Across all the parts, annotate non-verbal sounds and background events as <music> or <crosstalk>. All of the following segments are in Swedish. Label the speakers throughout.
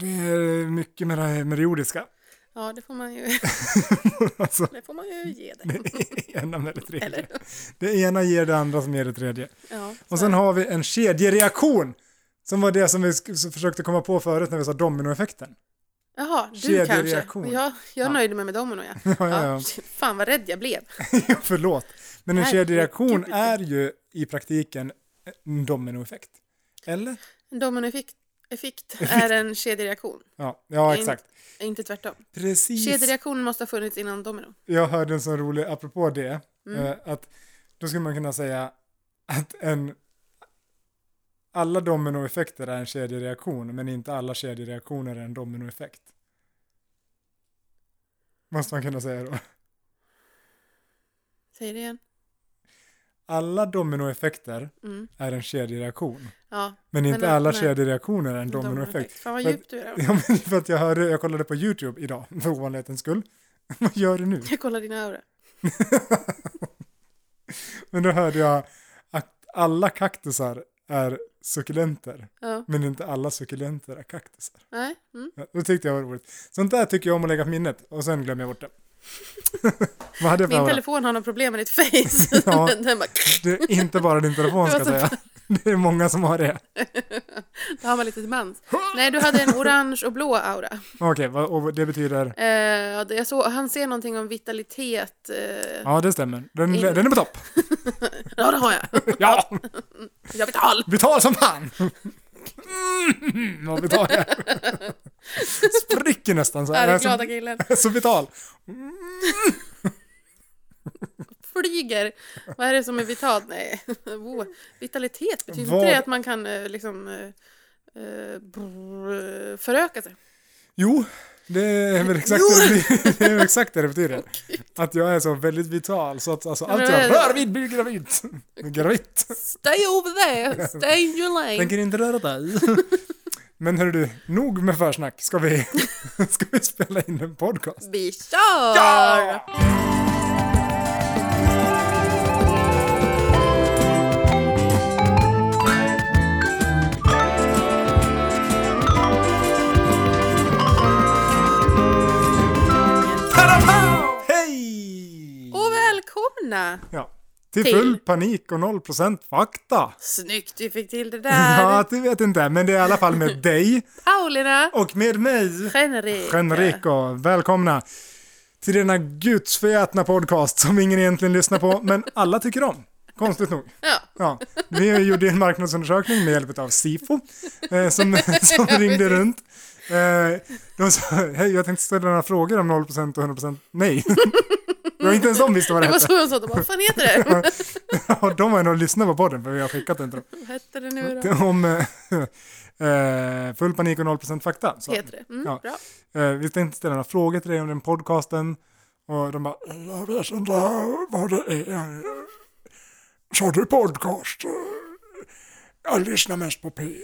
Speaker 1: det är mycket med det, här, med det jordiska. <laughs>
Speaker 2: Ja, det får man ju, <laughs>
Speaker 1: alltså,
Speaker 2: det får man ju ge det.
Speaker 1: det ena med det tredje.
Speaker 2: Eller?
Speaker 1: Det ena ger det andra som ger det tredje.
Speaker 2: Ja, så
Speaker 1: Och sen har vi en kedjereaktion. Som var det som vi sk- så försökte komma på förut när vi sa dominoeffekten. <laughs>
Speaker 2: Jaha, du kanske.
Speaker 1: Kedjereaktion.
Speaker 2: Jag, jag
Speaker 1: Ja.
Speaker 2: nöjde mig med domino, ja.
Speaker 1: <laughs> Ja, ja, ja.
Speaker 2: Fan vad rädd jag blev.
Speaker 1: <laughs> Förlåt. Men en
Speaker 2: Herregud.
Speaker 1: kedjereaktion är ju i praktiken en dominoeffekt. Eller?
Speaker 2: En dominoeffekt effekt är en kedjereaktion,
Speaker 1: Ja, ja
Speaker 2: Inte-
Speaker 1: exakt.
Speaker 2: inte tvärtom.
Speaker 1: Precis.
Speaker 2: Kedjereaktionen måste ha funnits innan domino.
Speaker 1: Jag hörde en sån rolig, apropå det, eh, att då skulle man kunna säga att en alla dominoeffekter är en kedjereaktion, men inte alla kedjereaktioner är en dominoeffekt. Måste man kunna säga då.
Speaker 2: Säg det igen.
Speaker 1: Alla dominoeffekter
Speaker 2: Mm.
Speaker 1: är en kedjereaktion,
Speaker 2: Ja,
Speaker 1: men inte
Speaker 2: Men,
Speaker 1: alla
Speaker 2: nej.
Speaker 1: kedjereaktioner är en dominoeffekt. <laughs>
Speaker 2: dominoeffekt. Fan vad
Speaker 1: För att-
Speaker 2: djupt du är. då.
Speaker 1: Ja, men för att jag hörde, jag kollade på YouTube idag, <laughs> för ovanlighetens skull. Vad gör du nu?
Speaker 2: <laughs> Jag kollar dina öron.
Speaker 1: Men då hörde jag att alla kaktusar är suckulenter.
Speaker 2: Ja,
Speaker 1: Men inte alla suckulenter är kaktusar.
Speaker 2: nej. Mm.
Speaker 1: Ja, det tyckte jag var roligt. Sånt där tycker jag om att lägga på minnet och sen glömmer jag bort det. <laughs> Vad hade jag
Speaker 2: Min
Speaker 1: för telefon...
Speaker 2: telefon har något problem med ditt face.
Speaker 1: <laughs>
Speaker 2: <laughs>
Speaker 1: Ja.
Speaker 2: Den- Den bara,
Speaker 1: Det är inte bara din telefon ska jag
Speaker 2: <laughs> Det var
Speaker 1: säga. <laughs> Det är många som har det.
Speaker 2: då har man lite
Speaker 1: <laughs>
Speaker 2: till mans. Nej, du hade en orange och blå aura.
Speaker 1: Okej, vad- och det betyder?
Speaker 2: Eh, ja, det- jag såg, han ser någonting om vitalitet. Eh,
Speaker 1: Ja, det stämmer. Den, den är på topp.
Speaker 2: <laughs> ja, det har jag.
Speaker 1: Ja,
Speaker 2: Jag
Speaker 1: <laughs>
Speaker 2: är vital.
Speaker 1: vital som fan! Mm, vad vital jag är.
Speaker 2: <laughs>
Speaker 1: Spricker nästan så
Speaker 2: Är
Speaker 1: Jag
Speaker 2: den
Speaker 1: är så,
Speaker 2: glada killen.
Speaker 1: jag är så vital.
Speaker 2: Flyger. Vad är det som är vitalt? Nej. <laughs> Wow. Vitalitet betyder
Speaker 1: Vad-
Speaker 2: inte det att man kan eh, liksom eh, eh, brr, föröka sig?
Speaker 1: Jo, det är väl exakt,
Speaker 2: Jo!
Speaker 1: det, <laughs> det, är väl exakt det det betyder. Att jag är så väldigt vital, så att alltså, allt jag rör vid blir gravitt. Gravitt.
Speaker 2: Stay over there! Stay in your lane!
Speaker 1: Tänker inte röra dig. <laughs> Men hörru du, nog med försnack. Ska vi, <laughs> ska vi spela in en podcast?
Speaker 2: Vi kör! Ja!
Speaker 1: Hej!
Speaker 2: Och välkomna!
Speaker 1: Ja. Till
Speaker 2: Oh, Till.
Speaker 1: full panik och 0% fakta.
Speaker 2: Snyggt du fick
Speaker 1: <laughs>
Speaker 2: till det
Speaker 1: Ja,
Speaker 2: där!
Speaker 1: det vet inte, men det är i alla fall med dig
Speaker 2: Paulina!
Speaker 1: och med mig.
Speaker 2: Henrik!
Speaker 1: Genrico, välkomna till denna gudsförgätna podcast som ingen egentligen lyssnar på, men alla tycker om. Konstigt nog.
Speaker 2: Ja.
Speaker 1: Ja, vi gjorde en marknadsundersökning med hjälp av Sifo eh, som, som ringde runt. Eh, de sa, hej jag tänkte ställa några frågor om 0% och 100% nej. Det var inte ens de visste vad det
Speaker 2: Det var
Speaker 1: hette.
Speaker 2: så jag sa, de bara, vad fan heter
Speaker 1: <laughs>
Speaker 2: det?
Speaker 1: Ja, de har ändå lyssnat på podden för vi har skickat den till
Speaker 2: Vad hette det nu då?
Speaker 1: dem. Om eh, eh, full panik och 0% fakta. Så.
Speaker 2: Heter det? Mm,
Speaker 1: Ja.
Speaker 2: Bra.
Speaker 1: Eh, vi tänkte ställa några frågor till dig om den podcasten. Och de bara, jag vet inte vad det är. Sa du podcast? Jag lyssnar mest på P1.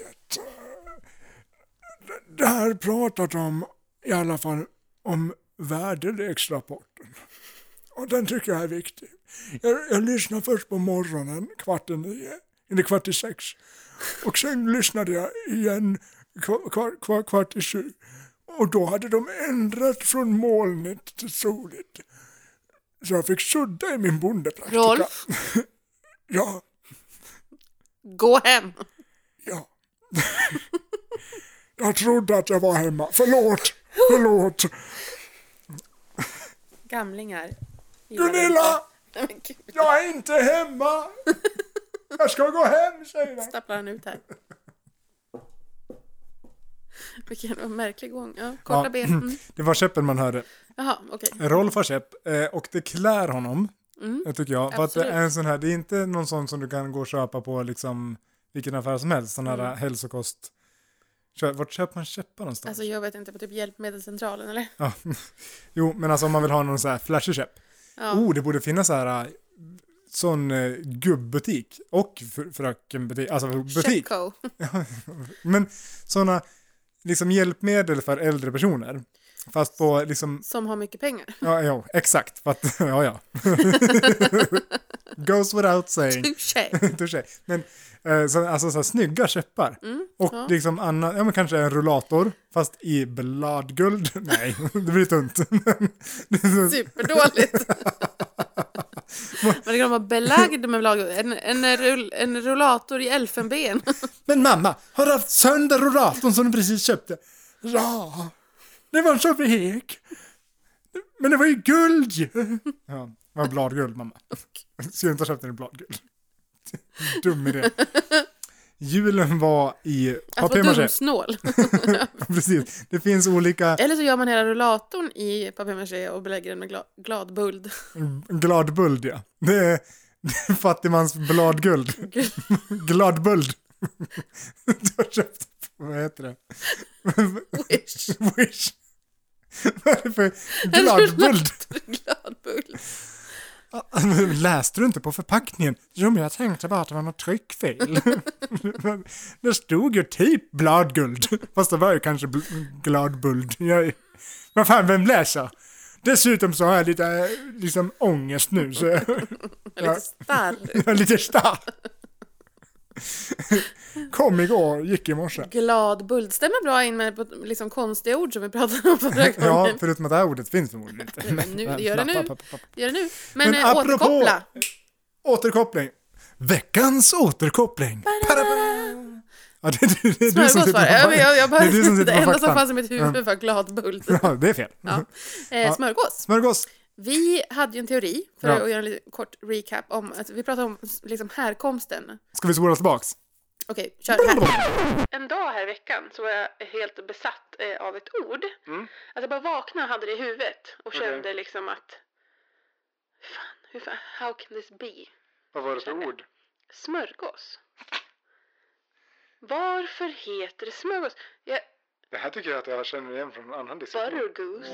Speaker 1: Det här pratat om, i alla fall om väderleksrapporten. Och den tycker jag är viktig. Jag, jag lyssnar först på morgonen, kvart i nio, eller kvart i sex. Och sen lyssnade jag igen kvar, kvar, kvar, kvart i sju. Och då hade de ändrat från molnigt till soligt. Så jag fick sudda i min bondepraktika.
Speaker 2: Rolf,
Speaker 1: <laughs> Ja,
Speaker 2: gå hem!
Speaker 1: ja. <laughs> jag trodde att jag var hemma. Förlåt, förlåt.
Speaker 2: Gamlingar. Gillar det inte.
Speaker 1: Gunilla,
Speaker 2: Nej, men gud.
Speaker 1: jag är inte hemma. Jag ska gå hem, säger jag.
Speaker 2: stapplar han ut här. Vilken märklig gång. Ja,
Speaker 1: Ja.
Speaker 2: korta ben. Mm.
Speaker 1: Det var käppen man hörde.
Speaker 2: Jaha, okej.
Speaker 1: Rolf har käpp eh, och det klär honom,
Speaker 2: Mm.
Speaker 1: det tycker jag. För att det
Speaker 2: Absolut.
Speaker 1: är en sån här, det är inte någon sån som du kan gå och köpa på liksom vilken affär som helst, sån här
Speaker 2: Mm.
Speaker 1: hälsokost. Kö- Vart köper man käppar någonstans?
Speaker 2: Alltså jag vet inte, på typ hjälpmedelscentralen eller?
Speaker 1: Ja. <laughs> Jo, men alltså om man vill ha någon sån här flashig käpp.
Speaker 2: Ja.
Speaker 1: Oh, det borde finnas så här eh, sån eh, gubbutik och fr- frökenbutik, alltså butik.
Speaker 2: Chefco.
Speaker 1: Men såna liksom hjälpmedel för äldre personer Fast på liksom,
Speaker 2: Som har mycket pengar.
Speaker 1: ja, ja exakt. För att, <laughs> ja, ja. Goes without
Speaker 2: Typ.
Speaker 1: saying.
Speaker 2: Touché.
Speaker 1: <laughs> Touché. Men eh, så, alltså så här, snygga käppar. och
Speaker 2: Mm, ja.
Speaker 1: liksom annan, ja men kanske en rullator, fast i bladguld. <laughs> Nej, det blir tunt. <laughs> Men-
Speaker 2: Superdåligt. Men det kan vara belagd med lag. En, en, rull, en rullator i elfenben.
Speaker 1: men mamma, har du haft sönder rullatorn som du precis köpte? Ja, det var så vek. Men det var ju guld ju. Ja, det var bladguld mamma. Skulle inte ha köpt den i bladguld. Dum idé. Julen var i
Speaker 2: Att vara
Speaker 1: papier-maché.
Speaker 2: Alltså, dumsnål.
Speaker 1: <laughs> Precis, det finns olika
Speaker 2: Eller så gör man hela rullatorn i papier-maché och belägger den med gla,
Speaker 1: <laughs>
Speaker 2: gladbuld.
Speaker 1: Gladbuld ja. Det är det är fattigmans bladguld. Gladbuld. Du har köpt, vad heter det?
Speaker 2: Wish.
Speaker 1: Wish. <laughs> Vad är det för gladbuld?
Speaker 2: <laughs> gladbuld.
Speaker 1: <laughs> Läste du inte på förpackningen? Jo, men jag tänkte bara att det var något tryckfel. <laughs> det stod ju typ bladguld. <laughs> Fast det var ju kanske bl- gladbuld. <laughs> Jag, vad fan, vem läser? Dessutom så har jag lite eh, liksom, ångest nu. Så <laughs> jag,
Speaker 2: Eller starr.
Speaker 1: Jag är lite stark. <laughs> Kom igår, gick i morse.
Speaker 2: Gladbuld stämmer bra in med på- liksom konstiga ord som vi pratade om förra gången.
Speaker 1: <laughs> Ja, förutom att det här ordet finns förmodligen inte.
Speaker 2: Men nu, det gör det nu. Gör det nu. Men,
Speaker 1: Men
Speaker 2: eh,
Speaker 1: apropå-
Speaker 2: återkoppla.
Speaker 1: Återkoppling. Veckans återkoppling. Parabara. Ja, det, det, det, det är du som sitter på
Speaker 2: Smörgås var det. Ja, men jag, jag bara,
Speaker 1: Det är du som sitter
Speaker 2: <laughs> det
Speaker 1: på
Speaker 2: enda som
Speaker 1: faktan.
Speaker 2: fanns i mitt huvud var gladbuld.
Speaker 1: Ja, det är fel.
Speaker 2: Ja. Eh, smörgås.
Speaker 1: Smörgås.
Speaker 2: Vi hade ju en teori, för
Speaker 1: Ja.
Speaker 2: att göra en liten kort recap, om att vi pratade om liksom, härkomsten.
Speaker 1: Ska vi spola tillbaks?
Speaker 2: Okej, kör här. En dag här i veckan så var jag helt besatt eh, av ett ord.
Speaker 1: Mm.
Speaker 2: Alltså jag bara vaknade och hade det i huvudet och kände liksom att... Fan, hur fan, how can this be?
Speaker 1: Vad var det
Speaker 2: för ord? Smörgås. Varför heter det smörgås? Jag,
Speaker 1: Det här tycker jag att jag känner igen från en annan
Speaker 2: Buttergoose.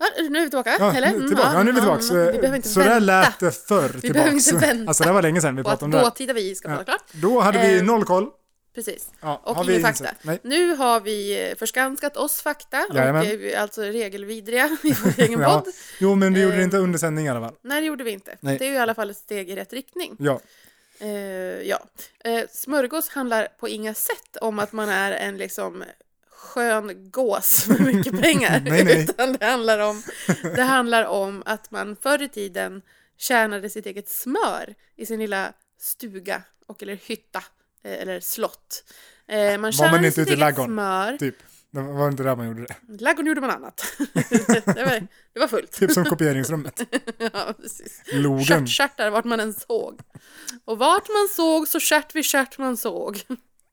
Speaker 2: Ja, nu är vi tillbaka,
Speaker 1: Ja,
Speaker 2: eller?
Speaker 1: nu, tillbaka.
Speaker 2: Mm,
Speaker 1: Ja, nu är vi
Speaker 2: mm,
Speaker 1: tillbaks.
Speaker 2: mm. Vi behöver inte
Speaker 1: Så
Speaker 2: vänta
Speaker 1: där lät det förr tillbaks.
Speaker 2: behöver inte vänta
Speaker 1: Alltså det var länge sedan vi
Speaker 2: på att
Speaker 1: pratade om det här.
Speaker 2: dåtida vi ska prata
Speaker 1: Ja.
Speaker 2: klart.
Speaker 1: Då hade vi
Speaker 2: Ehm,
Speaker 1: noll koll.
Speaker 2: Precis.
Speaker 1: Ja,
Speaker 2: Och
Speaker 1: har vi
Speaker 2: ingen fakta.
Speaker 1: insett? Nej.
Speaker 2: Nu har vi eh, förskanskat oss fakta
Speaker 1: Jajamän.
Speaker 2: och eh, vi är alltså regelvidriga <laughs> i vår
Speaker 1: <laughs>
Speaker 2: egen
Speaker 1: Ja.
Speaker 2: podd.
Speaker 1: Jo, men vi gjorde det
Speaker 2: Ehm.
Speaker 1: inte under sändning i alla fall.
Speaker 2: Nej, det gjorde vi inte.
Speaker 1: Nej.
Speaker 2: Det är ju i alla fall ett steg i rätt riktning.
Speaker 1: Ja,
Speaker 2: Eh, ja. Eh, smörgås handlar på inga sätt om att man är en liksom skön gås med
Speaker 1: <laughs>
Speaker 2: mycket pengar.
Speaker 1: Nej, nej.
Speaker 2: Utan det handlar, om, det handlar om att man förr i tiden tjänade sitt eget smör i sin lilla stuga och eller hytta eh, eller slott. Eh, man tjänade
Speaker 1: man inte
Speaker 2: sitt
Speaker 1: ute i
Speaker 2: eget
Speaker 1: ladugården?
Speaker 2: smör.
Speaker 1: typ. Det var inte där man gjorde det.
Speaker 2: Ladugården gjorde man annat. <laughs> det, var, det var fullt. <laughs>
Speaker 1: Typ som kopieringsrummet.
Speaker 2: ja, precis.
Speaker 1: Logen.
Speaker 2: Stjärtstjärtar vart man än såg. Och vart man såg så stjärt vid stjärt man såg.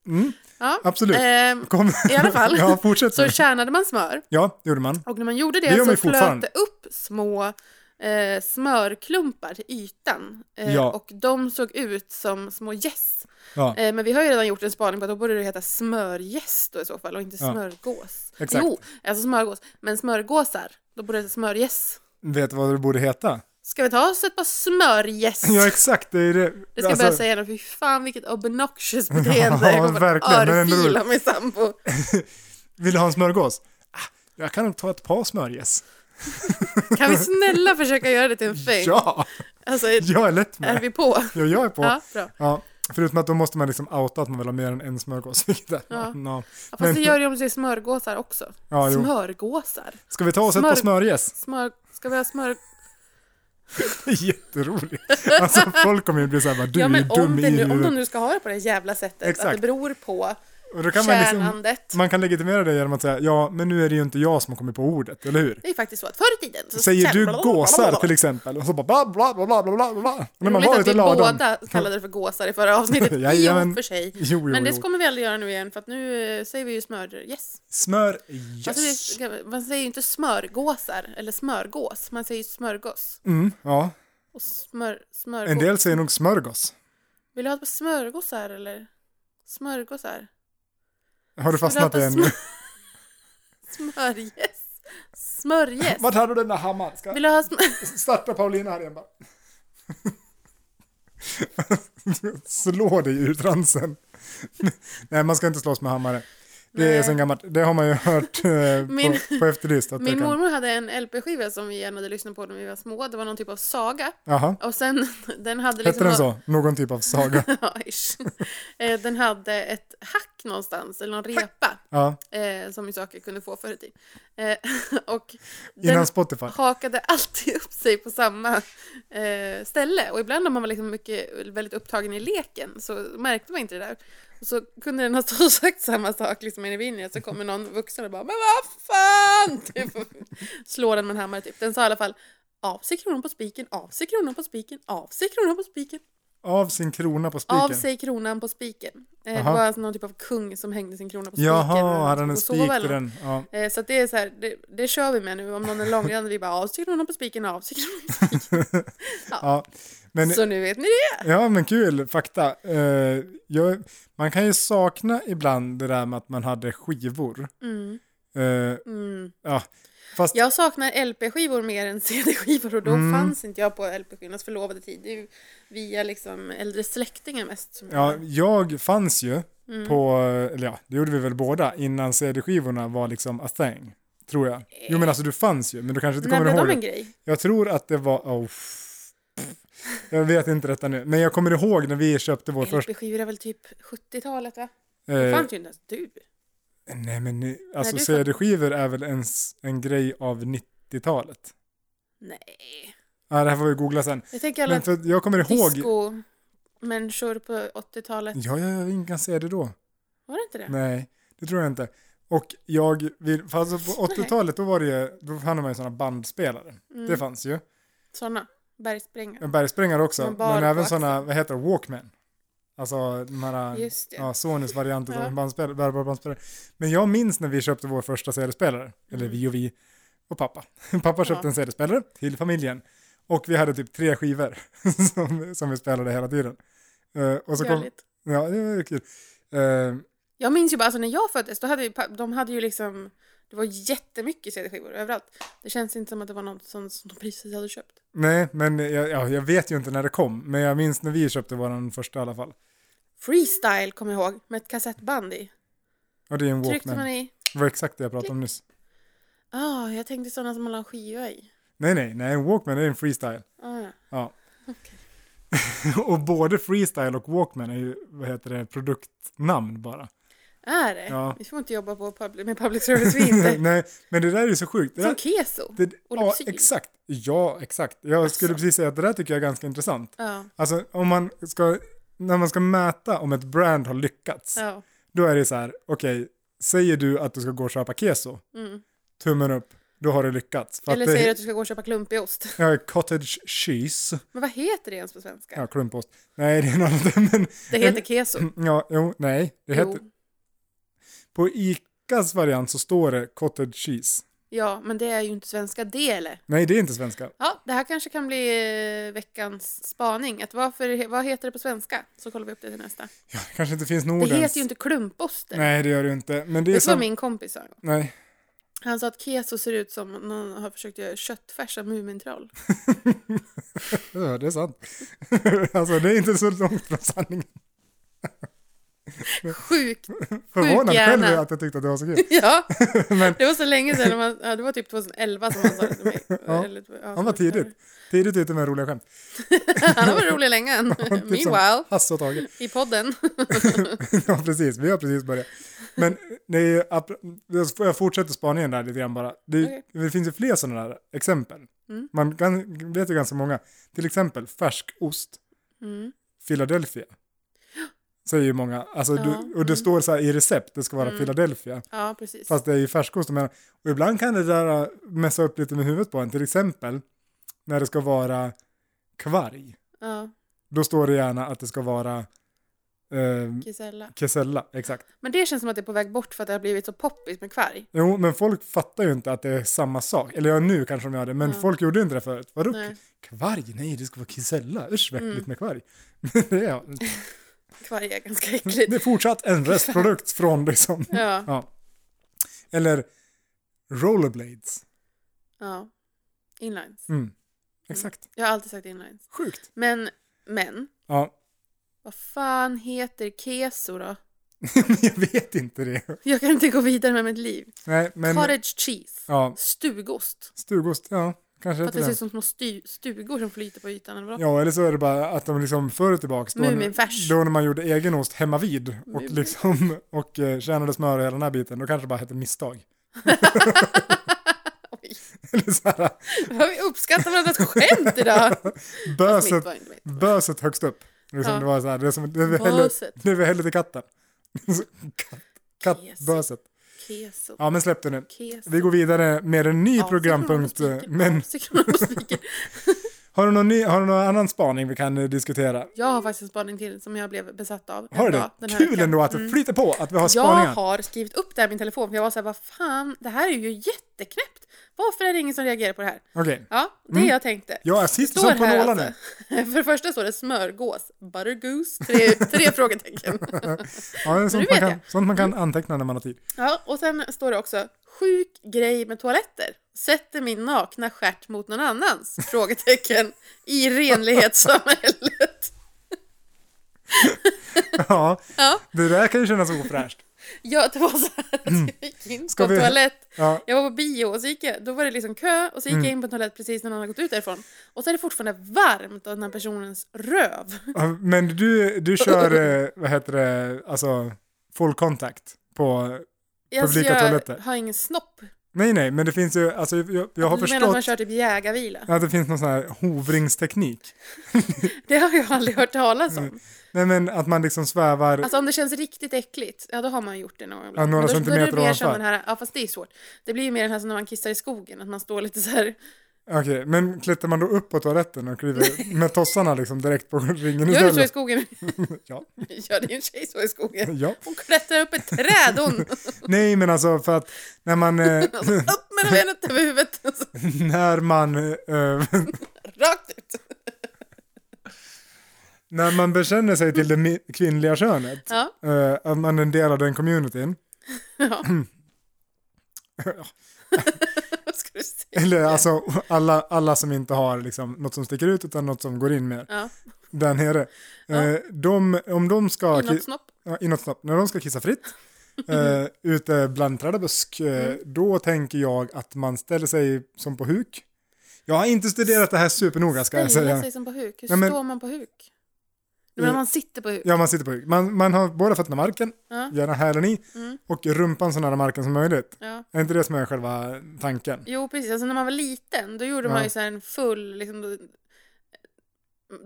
Speaker 1: Mm,
Speaker 2: Ja.
Speaker 1: absolut.
Speaker 2: Ehm,
Speaker 1: Kom.
Speaker 2: i alla
Speaker 1: <laughs>
Speaker 2: fall.
Speaker 1: Ja,
Speaker 2: <laughs>
Speaker 1: fortsätt.
Speaker 2: så
Speaker 1: nu.
Speaker 2: tjänade man smör
Speaker 1: Ja, det gjorde man.
Speaker 2: och när man gjorde det,
Speaker 1: Det gör man
Speaker 2: så
Speaker 1: ju
Speaker 2: flöt
Speaker 1: fortfarande.
Speaker 2: det upp små eh, smörklumpar till ytan eh,
Speaker 1: Ja.
Speaker 2: och de såg ut som små gäss.
Speaker 1: Ja,
Speaker 2: Eh, men vi har ju redan gjort en spaning på att då borde det heta smörgäss då i så fall och inte
Speaker 1: Ja.
Speaker 2: smörgås.
Speaker 1: Exakt.
Speaker 2: Jo, alltså smörgås, men smörgåsar, då borde det heta smörgäss.
Speaker 1: vet du vad det borde heta? <laughs>
Speaker 2: Ska vi ta oss ett par smörgäss?
Speaker 1: Ja, exakt. Det är det.
Speaker 2: Det ska jag
Speaker 1: Alltså,
Speaker 2: börja säga nu, fy fan vilket
Speaker 1: <laughs>
Speaker 2: obnoxious beteende.
Speaker 1: Ja,
Speaker 2: jag kommer
Speaker 1: verkligen,
Speaker 2: att
Speaker 1: men ändå roligt.
Speaker 2: örfila min sambo.
Speaker 1: Vill du ha en smörgås? Ah, Jag kan nog ta ett par smörgäs.
Speaker 2: Kan vi snälla försöka göra det till en thing?
Speaker 1: <laughs> Ja,
Speaker 2: Alltså,
Speaker 1: jag är lätt
Speaker 2: är
Speaker 1: med.
Speaker 2: vi på?
Speaker 1: Ja, jag är på.
Speaker 2: Ja, bra.
Speaker 1: Ja, förutom att då måste man liksom outa att man vill ha mer än en smörgås. <laughs> vilket är-
Speaker 2: Ja.
Speaker 1: no.
Speaker 2: Ja, fast
Speaker 1: Men-
Speaker 2: det gör ju om det är smörgåsar också.
Speaker 1: Ja, jo.
Speaker 2: smörgåsar?
Speaker 1: Ska vi ta oss ett par
Speaker 2: Smör-
Speaker 1: smörgäs?
Speaker 2: Smör... Ska vi ha smör...
Speaker 1: Det är <laughs> Jätteroligt. Alltså folk kommer ju bli såhär, bara, du
Speaker 2: ja,
Speaker 1: är
Speaker 2: men om,
Speaker 1: dum i
Speaker 2: det nu, om
Speaker 1: huvudet.
Speaker 2: de nu ska ha det på det jävla sättet, att
Speaker 1: Exakt.
Speaker 2: det beror på
Speaker 1: Och då kan man, liksom,
Speaker 2: kärnandet.
Speaker 1: man kan legitimera det genom att säga, ja men nu är det ju inte jag som har kommit på ordet, eller hur?
Speaker 2: Det är faktiskt så att förr i tiden... Så
Speaker 1: Säger du gåsar till exempel, och så bara bla bla bla bla bla bla bla. När man
Speaker 2: Roligt
Speaker 1: var
Speaker 2: att
Speaker 1: ute
Speaker 2: vi
Speaker 1: i ladan.
Speaker 2: typ båda kallade det för gåsar i förra avsnittet, i och
Speaker 1: <laughs> Jajamän.
Speaker 2: för sig.
Speaker 1: Jo, jo,
Speaker 2: Men det
Speaker 1: jo.
Speaker 2: kommer vi aldrig göra nu igen, för att nu eh, säger vi ju smörgäss. Alltså det,
Speaker 1: Smörgäs.
Speaker 2: ska- man säger ju inte smörgåsar eller smörgås, man säger ju smörgås.
Speaker 1: Mm, ja.
Speaker 2: Och smör, smörgås.
Speaker 1: En del säger nog smörgås.
Speaker 2: Vill du ha ett par smörgåsar eller? Smörgåsar?
Speaker 1: Har du
Speaker 2: Vill ha ett
Speaker 1: fastnat
Speaker 2: par
Speaker 1: i en?
Speaker 2: smör- <laughs> Smörgäss? Smörgäss?
Speaker 1: <laughs> Vart hade du den där hammaren? Ska
Speaker 2: Vill du ha sm-
Speaker 1: starta Paulina här igen bara. <laughs> <laughs> Slå dig ur transen. Nej, man ska inte slåss med hammare. Det är
Speaker 3: Nej.
Speaker 1: sen gammalt. Det har man ju hört eh,
Speaker 2: Min-
Speaker 1: på, på efterlyst. Att det
Speaker 2: Min
Speaker 1: kan-
Speaker 2: mormor hade en LP-skiva som vi gärna hade lyssnat på när vi var små. Det var någon typ av saga.
Speaker 1: Jaha,
Speaker 2: Och sen, <laughs> den hade
Speaker 1: hette
Speaker 2: liksom...
Speaker 1: den så? Någon typ av saga.
Speaker 2: <laughs> Ja, ish. Eh, den hade ett hack någonstans, eller någon repa,
Speaker 1: Ja,
Speaker 2: eh, som ju saker kunde få förr i tiden. Eh, <laughs> och
Speaker 1: innan
Speaker 2: den
Speaker 1: Spotify.
Speaker 2: hakade alltid upp sig på samma eh, ställe. Och ibland om man var liksom mycket, väldigt upptagen i leken så märkte man inte det där. Och så kunde den ha stått och sagt samma sak liksom in i vinjet så kommer någon vuxen och bara Men vad fan! <laughs> Typ, slår den med en hammare typ. Den sa i alla fall av sig kronan på spiken, av sig kronan på spiken, av sig kronan på spiken.
Speaker 1: Av sin krona på spiken.
Speaker 2: Av sig kronan på spiken. Eh, det
Speaker 1: Aha.
Speaker 2: var alltså någon typ av kung som hängde sin krona på spiken.
Speaker 1: Jaha, hade han en
Speaker 2: och sov
Speaker 1: spik
Speaker 2: eller
Speaker 1: i den? Ja.
Speaker 2: Eh, Så att det är så här, det, det kör vi med nu. Om någon är långrandig, vi bara avstyr honom på spiken, avstyr honom på spiken.
Speaker 1: ja. Men,
Speaker 2: Så nu vet ni det.
Speaker 1: ja, men kul fakta. Eh, jag, man kan ju sakna ibland det där med att man hade skivor.
Speaker 2: Mm,
Speaker 1: Eh,
Speaker 2: mm.
Speaker 1: ja. Fast
Speaker 2: Jag saknar LP-skivor mer än CD-skivor och då
Speaker 1: Mm.
Speaker 2: fanns inte jag på LP-skivornas förlovade tid. Det är ju via liksom äldre släktingar mest. Som
Speaker 1: Ja,
Speaker 2: jag-
Speaker 1: jag fanns ju
Speaker 2: Mm.
Speaker 1: på, eller ja, det gjorde vi väl båda, innan CD-skivorna var liksom a thing. Tror jag. Jo men alltså du fanns ju, men du kanske inte
Speaker 2: När
Speaker 1: kommer
Speaker 2: blev
Speaker 1: ihåg
Speaker 2: Eh. de
Speaker 1: det.
Speaker 2: en grej?
Speaker 1: Jag tror att det var, oh, pff. jag vet inte detta nu, men jag kommer ihåg när vi köpte vår första...
Speaker 2: LP-skivor är väl typ 70-talet va? Det
Speaker 1: Eh,
Speaker 2: fanns ju inte ens du.
Speaker 1: nej men ni- alltså
Speaker 2: du fan-
Speaker 1: CD-skivor är väl en, s- en grej av 90-talet?
Speaker 2: Nej.
Speaker 1: Ja, det här får vi googla sen.
Speaker 2: Jag tänker alla
Speaker 1: Men för att jag kommer ihåg...
Speaker 2: disco-människor på 80-talet.
Speaker 1: Ja, ja, ja, ingen kan se det då.
Speaker 2: Var det inte det?
Speaker 1: Nej, det tror jag inte. Och jag vill, för alltså
Speaker 2: <laughs>
Speaker 1: på 80-talet då var det ju, då hade man ju sådana bandspelare. Det fanns ju.
Speaker 2: Mm, Såna. Bergsprängare.
Speaker 1: En bergsprängare också,
Speaker 2: Med bar
Speaker 1: men
Speaker 2: på
Speaker 1: även
Speaker 2: axeln.
Speaker 1: sådana, vad heter det, Walkman. Alltså de här,
Speaker 2: Just det.
Speaker 1: ja, Sonys variant av
Speaker 2: Ja.
Speaker 1: en bandspelare, bärbar bandspelare. Men jag minns när vi köpte vår första CD-spelare, eller vi och vi och pappa. <laughs> Pappa köpte
Speaker 2: Mm. Ja.
Speaker 1: en CD-spelare till familjen. Och vi hade typ tre skivor <laughs> som, som vi spelade hela tiden. Eh, och så kom,
Speaker 2: Görligt.
Speaker 1: ja, det var ju kul. Eh,
Speaker 2: Jag minns ju bara, alltså när jag föddes, då hade ju, pa- de hade ju liksom, det var jättemycket CD-skivor överallt. Det känns inte som att det var något som, som de precis hade köpt.
Speaker 1: Nej, men jag, ja, jag vet ju inte när det kom, men jag minns när vi köpte vår första i alla fall.
Speaker 2: Freestyle kommer jag ihåg, med ett kassettband i.
Speaker 1: Och det är en
Speaker 2: Tryckte
Speaker 1: Walkman.
Speaker 2: man i,
Speaker 1: Det var exakt det jag pratade om nyss.
Speaker 2: ah, jag tänkte sådana som man la en skiva i.
Speaker 1: Nej, nej, nej, en Walkman är en freestyle.
Speaker 2: Ah, ja.
Speaker 1: Ja.
Speaker 2: Okej.
Speaker 1: <laughs> och både freestyle och Walkman är ju, vad heter det, produktnamn bara.
Speaker 2: Är det?
Speaker 1: Ja.
Speaker 2: Vi får inte jobba på public, med public service, vi inte.
Speaker 1: <laughs> nej, men det där är ju så sjukt. Det
Speaker 2: Som
Speaker 1: där,
Speaker 2: keso.
Speaker 1: det, ja,
Speaker 2: Olopsil.
Speaker 1: exakt. Ja, exakt. Jag
Speaker 2: Alltså.
Speaker 1: skulle precis säga att det där tycker jag är ganska intressant.
Speaker 2: Ja,
Speaker 1: Alltså, om man ska, när man ska mäta om ett brand har lyckats,
Speaker 2: ja.
Speaker 1: då är det så här, okej, säger du att du ska gå och köpa keso,
Speaker 2: Mm.
Speaker 1: tummen upp, då har du lyckats. För
Speaker 2: Eller
Speaker 1: att
Speaker 2: säger du
Speaker 1: det,
Speaker 2: att du ska gå och köpa klumpig ost? <laughs>
Speaker 1: Ja, cottage cheese,
Speaker 2: Men vad heter det ens på svenska?
Speaker 1: ja, klumpost. Nej, det är något annat. <laughs> Men,
Speaker 2: Det heter keso.
Speaker 1: ja, jo, nej, det heter,
Speaker 2: Jo,
Speaker 1: på ICAs variant så står det cottage cheese.
Speaker 2: ja, men det är ju inte svenska det, eller?
Speaker 1: Nej, det är inte svenska.
Speaker 2: Ja, det här kanske kan bli eh, veckans spaning. Att varför, vad heter det på svenska? Så kollar vi upp det till nästa.
Speaker 1: Ja, det kanske inte finns
Speaker 2: Det
Speaker 1: Nordens.
Speaker 2: heter ju inte klumposter.
Speaker 1: Nej, det gör det ju inte. Men det är
Speaker 2: Vet du vad
Speaker 1: som...
Speaker 2: min kompis sa? en gång?
Speaker 1: Nej,
Speaker 2: Han sa att keso ser ut som om någon har försökt göra köttfärs av Mumintroll.
Speaker 1: ja, det är sant. <laughs> alltså, det är inte så långt från sanningen. <laughs>
Speaker 2: Sjukt!
Speaker 1: Förvånad själv
Speaker 2: hjärna.
Speaker 1: är att jag tyckte att det var så kul.
Speaker 2: Ja,
Speaker 1: <laughs> Men-
Speaker 2: det var så länge sedan. Man, ja, det var typ 2011 som han sa det till mig.
Speaker 1: <laughs> Ja,
Speaker 2: Eller, ja,
Speaker 1: Han var
Speaker 2: <laughs>
Speaker 1: tidigt. Tidigt ute med roliga skämt. <laughs>
Speaker 2: Han var rolig länge än.
Speaker 1: Typ som
Speaker 2: Meanwhile,
Speaker 1: Hasse och Tage.
Speaker 2: i podden. <laughs>
Speaker 1: <laughs> Ja, precis. Vi har precis börjat. Men det är ju, ap- jag fortsätter spaningen där lite grann bara. Det,
Speaker 2: Okej.
Speaker 1: det finns ju fler sådana där exempel.
Speaker 2: Mm.
Speaker 1: Man kan, vet ju ganska många. Till exempel färskost,
Speaker 2: Mm.
Speaker 1: Philadelphia. Säger ju många. Alltså,
Speaker 2: Ja,
Speaker 1: du, och det
Speaker 2: mm.
Speaker 1: står så här i recept, det ska vara Philadelphia.
Speaker 2: Ja, precis.
Speaker 1: Fast det är ju färskost. Men, och ibland kan det där äh, mässa upp lite med huvudet på en. Till exempel när det ska vara kvarg.
Speaker 2: Ja,
Speaker 1: Då står det gärna att det ska vara eh,
Speaker 2: Gisella.
Speaker 1: kesella. Exakt.
Speaker 2: Men det känns som att det är på väg bort för att det har blivit så poppis med kvarg.
Speaker 1: Jo, men folk fattar ju inte att det är samma sak. Eller ja, nu kanske de gör det, men
Speaker 2: Ja.
Speaker 1: folk gjorde inte det förut. Vadå?
Speaker 2: Nej.
Speaker 1: Kvarg? Nej, det ska vara kisella. Usch, vad äckligt
Speaker 2: Mm.
Speaker 1: med kvarg. <laughs> det, är,
Speaker 2: Kvarg är ganska äckligt.
Speaker 1: <laughs> det är fortsatt
Speaker 2: <laughs>
Speaker 1: en restprodukt från liksom...
Speaker 2: Ja.
Speaker 1: Ja. Eller rollerblades.
Speaker 2: Ja. Inlines.
Speaker 1: Mm. Exakt.
Speaker 2: Jag har alltid sagt inlines.
Speaker 1: Sjukt.
Speaker 2: Men, men.
Speaker 1: Ja, <laughs>
Speaker 2: Vad fan heter keso då? <laughs>
Speaker 1: jag vet inte det.
Speaker 2: Jag kan inte gå vidare med mitt liv.
Speaker 1: Nej, men...
Speaker 2: Cottage cheese.
Speaker 1: Ja,
Speaker 2: stugost.
Speaker 1: stugost, ja. Kanske
Speaker 2: För att
Speaker 1: heter
Speaker 2: det ser
Speaker 1: det.
Speaker 2: ut som små sty- stugor som flyter på ytan eller vadå?
Speaker 1: Ja, eller så är det bara att de liksom förr tillbaks, då,
Speaker 2: Muminfärs.
Speaker 1: då när man gjorde egen ost hemma vid och liksom och eh, tjänade smör och hela den här biten, då kanske det bara hette misstag.
Speaker 2: <laughs> Oj,
Speaker 1: Eller så här,
Speaker 2: <laughs> Vad vi
Speaker 1: <laughs>
Speaker 2: uppskattar varandras skämt idag!
Speaker 1: böset,
Speaker 2: Mitt var inte mitt.
Speaker 1: böset högst upp. Liksom,
Speaker 2: Ja.
Speaker 1: Det var så här, det är som det vi hällde,
Speaker 2: Böset.
Speaker 1: det vi hällde till
Speaker 2: <laughs>
Speaker 1: katten. Så, Katt,
Speaker 2: Jesus.
Speaker 1: kattböset.
Speaker 2: Keso.
Speaker 1: Ja, men släpp det nu.
Speaker 2: Keso.
Speaker 1: Vi går vidare med en ny
Speaker 2: Ja,
Speaker 1: programpunkt.
Speaker 2: cyklar på spiken.
Speaker 1: Men
Speaker 2: Ja, cyklar på spiken.
Speaker 1: har du, någon ny, har du någon annan spaning vi kan eh, diskutera?
Speaker 2: Jag har faktiskt en spaning till som jag blev besatt av. en
Speaker 1: Har du
Speaker 2: dag
Speaker 1: det?
Speaker 2: den här
Speaker 1: Kul
Speaker 2: veckan.
Speaker 1: ändå att det flyter på, att vi har
Speaker 2: Jag
Speaker 1: spaningar.
Speaker 2: har skrivit upp det här i min telefon för jag var så här, vad fan, det här är ju jätteknäppt. Varför är det ingen som reagerar på det här?
Speaker 1: Okej.
Speaker 2: Ja, det
Speaker 1: Mm.
Speaker 2: jag tänkte.
Speaker 1: Jag sitter som på nålar
Speaker 2: alltså.
Speaker 1: nu.
Speaker 2: <laughs> För det första står det smörgås, buttergoose, tre, <laughs> tre
Speaker 1: <laughs>
Speaker 2: frågetecken.
Speaker 1: Ja, det är sånt,
Speaker 2: vet
Speaker 1: man kan,
Speaker 2: jag. Mm.
Speaker 1: sånt man kan anteckna när man har tid. <laughs>
Speaker 2: Ja, och sen står det också sjuk grej med toaletter. Sätter min nakna stjärt mot
Speaker 1: <laughs>
Speaker 2: någon annans? Frågetecken. I renlighetssamhället.
Speaker 1: Ja,
Speaker 2: Ja,
Speaker 1: det där kan ju kännas ofräscht.
Speaker 2: ja, det var så här att jag gick in
Speaker 1: Mm. Ska
Speaker 2: på
Speaker 1: vi-
Speaker 2: toalett.
Speaker 1: Ja,
Speaker 2: Jag var på bio och så gick jag, då var det liksom kö och så gick
Speaker 1: Mm.
Speaker 2: jag in på en toalett precis när någon hade gått ut därifrån. Och så är det fortfarande varmt av den här personens röv.
Speaker 1: men du, du kör, eh, vad heter det, alltså full contact på... Publika
Speaker 2: jag
Speaker 1: toaletter.
Speaker 2: har ingen snopp.
Speaker 1: Nej, nej, men det finns ju, alltså jag, jag har
Speaker 2: Du menar att man
Speaker 1: förstått
Speaker 2: kör typ jägarvila? <laughs>
Speaker 1: att det finns någon sån här hovringsteknik.
Speaker 2: Det har jag aldrig hört talas
Speaker 1: Mm.
Speaker 2: om.
Speaker 1: Nej, men att man liksom svävar...
Speaker 2: Alltså om det känns riktigt äckligt, ja då har man gjort det någon gång.
Speaker 1: Ja, några
Speaker 2: Men då-
Speaker 1: centimeter
Speaker 2: då är det mer som
Speaker 1: ovanför.
Speaker 2: den här, ja fast det är svårt. Det blir ju mer den här som när man kissar i skogen, att man står lite så här.
Speaker 1: Okej, men klättrar man då upp på toaletten och kliver med tossarna liksom direkt på ringen
Speaker 2: Gör du så i
Speaker 1: istället?
Speaker 2: skogen? <laughs>
Speaker 1: Ja,
Speaker 2: Gör din tjej så i skogen?
Speaker 1: ja.
Speaker 2: Hon klättrar upp ett träd hon! <laughs>
Speaker 1: Nej, men alltså för att när man... Eh, <laughs>
Speaker 2: Alltså, upp med benet över huvudet! <laughs> Alltså,
Speaker 1: när man... Eh,
Speaker 2: rakt ut!
Speaker 1: när man bekänner sig till det mi- kvinnliga könet,
Speaker 2: Ja,
Speaker 1: eh, att man är en del av den communityn, <clears throat>
Speaker 2: ja. <laughs> Vad ska du säga?
Speaker 1: eller alltså alla, alla som inte har liksom, något som sticker ut utan något som går in mer,
Speaker 2: Ja,
Speaker 1: där nere, eh, de, om de ska...
Speaker 2: inåt snopp.
Speaker 1: ja, inåt snopp. När de ska kissa fritt eh, ute bland träd och busk, eh,
Speaker 2: Mm.
Speaker 1: då tänker jag att man ställer sig som på huk. Jag har inte studerat det här supernoga ska jag
Speaker 2: Ställa
Speaker 1: säga.
Speaker 2: sig som på huk. Hur
Speaker 1: Ja, men- Eh,
Speaker 2: står man på huk? Du menar man sitter på huk?
Speaker 1: Ja, man sitter på huk. Man, man har båda fötterna i marken,
Speaker 2: Ja. Mm.
Speaker 1: gärna hälen i, och rumpan så nära marken som möjligt.
Speaker 2: Ja.
Speaker 1: Är inte det som är själva
Speaker 2: <laughs>
Speaker 1: tanken?
Speaker 2: Jo, precis. Alltså när man var liten, då gjorde man
Speaker 1: Ja.
Speaker 2: ju så här en full, liksom, då,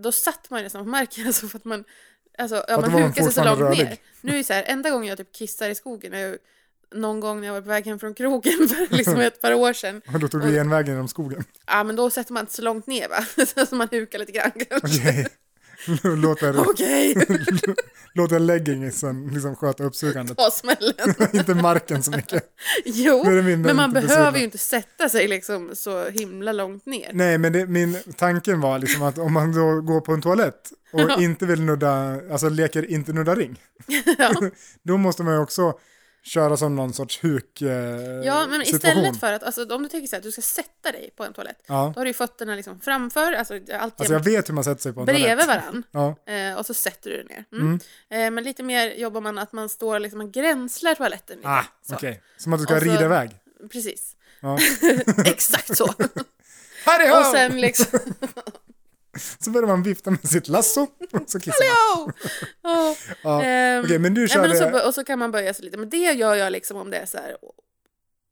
Speaker 2: då satt man ju nästan på marken <laughs> alltså, för att man, alltså, ja,
Speaker 1: att
Speaker 2: man
Speaker 1: då var man
Speaker 2: hukade sig så långt
Speaker 1: fortfarande
Speaker 2: ner.
Speaker 1: rörlig.
Speaker 2: Nu är det så här, enda gången jag typ kissar i skogen är ju någon gång när jag var på väg hem från krogen <laughs>
Speaker 1: <laughs>
Speaker 2: för liksom ett par år sedan.
Speaker 1: Och då tog du genvägen genom skogen. <laughs>
Speaker 2: Ja, men då sätter man inte så långt ner va? <laughs> Så att man hukar lite grann kanske. <laughs>
Speaker 1: Okej. Låter,
Speaker 2: Okej,
Speaker 1: låter leggingsen liksom sköta
Speaker 2: <laughs>
Speaker 1: uppsugandet. <laughs>
Speaker 2: ta smällen.
Speaker 1: inte marken så mycket.
Speaker 2: Jo,
Speaker 1: Nu är det min
Speaker 2: men man
Speaker 1: inte
Speaker 2: behöver
Speaker 1: besudlad.
Speaker 2: ju inte sätta sig liksom så himla långt ner.
Speaker 1: Nej, men det, min tanken var liksom att om man då går på en toalett och
Speaker 2: Ja.
Speaker 1: inte vill nudda, alltså leker inte nudda ring,
Speaker 2: <laughs> Ja.
Speaker 1: <laughs> då måste man ju också köra som någon sorts huk eh,
Speaker 2: Ja, men
Speaker 1: situation.
Speaker 2: istället för att, alltså, om du tänker så här, att du ska sätta dig på en toalett,
Speaker 1: Ja.
Speaker 2: då har du ju fötterna liksom framför, alltså alltid
Speaker 1: Alltså jag vet hur man sätter sig på en
Speaker 2: bredvid
Speaker 1: toalett.
Speaker 2: varann.
Speaker 1: Ja.
Speaker 2: Eh, och så sätter du dig ner. Mm. Eh, men lite mer jobbar man att man står liksom, man gränslar toaletten lite.
Speaker 1: Ah,
Speaker 2: Så.
Speaker 1: okej. Som att du ska
Speaker 2: Och så-
Speaker 1: rida iväg.
Speaker 2: Precis.
Speaker 1: Ja.
Speaker 2: <laughs> Exakt så.
Speaker 1: <laughs>
Speaker 2: och
Speaker 1: Harry ho!
Speaker 2: sen liksom, <laughs>
Speaker 1: Så börjar man vifta med sitt lasso och så kissar man.
Speaker 2: oh, oh.
Speaker 1: Ja.
Speaker 2: Ehm,
Speaker 1: Okej, men du
Speaker 2: nej, men och,
Speaker 1: körde-
Speaker 2: så, och så kan man böja sig lite, men det gör jag liksom om det är så här,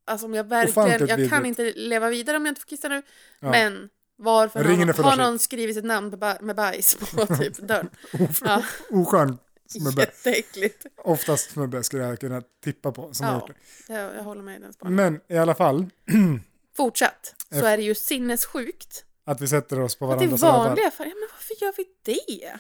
Speaker 2: Alltså om jag verkligen,
Speaker 1: Ofantligt
Speaker 2: jag kan
Speaker 1: vidrigt.
Speaker 2: inte leva vidare om jag inte får kissa nu.
Speaker 1: Ja.
Speaker 2: Men varför har
Speaker 1: Ringen är
Speaker 2: någon,
Speaker 1: för
Speaker 2: har
Speaker 1: larvigt.
Speaker 2: någon skrivit sitt namn på ba- med bajs
Speaker 1: <laughs>
Speaker 2: på typ dörren? Ja.
Speaker 1: Oskön
Speaker 2: <laughs>
Speaker 1: snubbe.
Speaker 2: Jätteäckligt.
Speaker 1: Oftast snubbe skulle jag kunna tippa på som har
Speaker 2: Ja,
Speaker 1: gjort det.
Speaker 2: jag, jag håller med i den spaningen.
Speaker 1: Men i alla fall,
Speaker 2: Fortsatt så är det ju sinnessjukt
Speaker 1: att vi sätter oss på
Speaker 2: att i
Speaker 1: varandras rövar.
Speaker 2: vanliga fall, ja men varför gör vi det?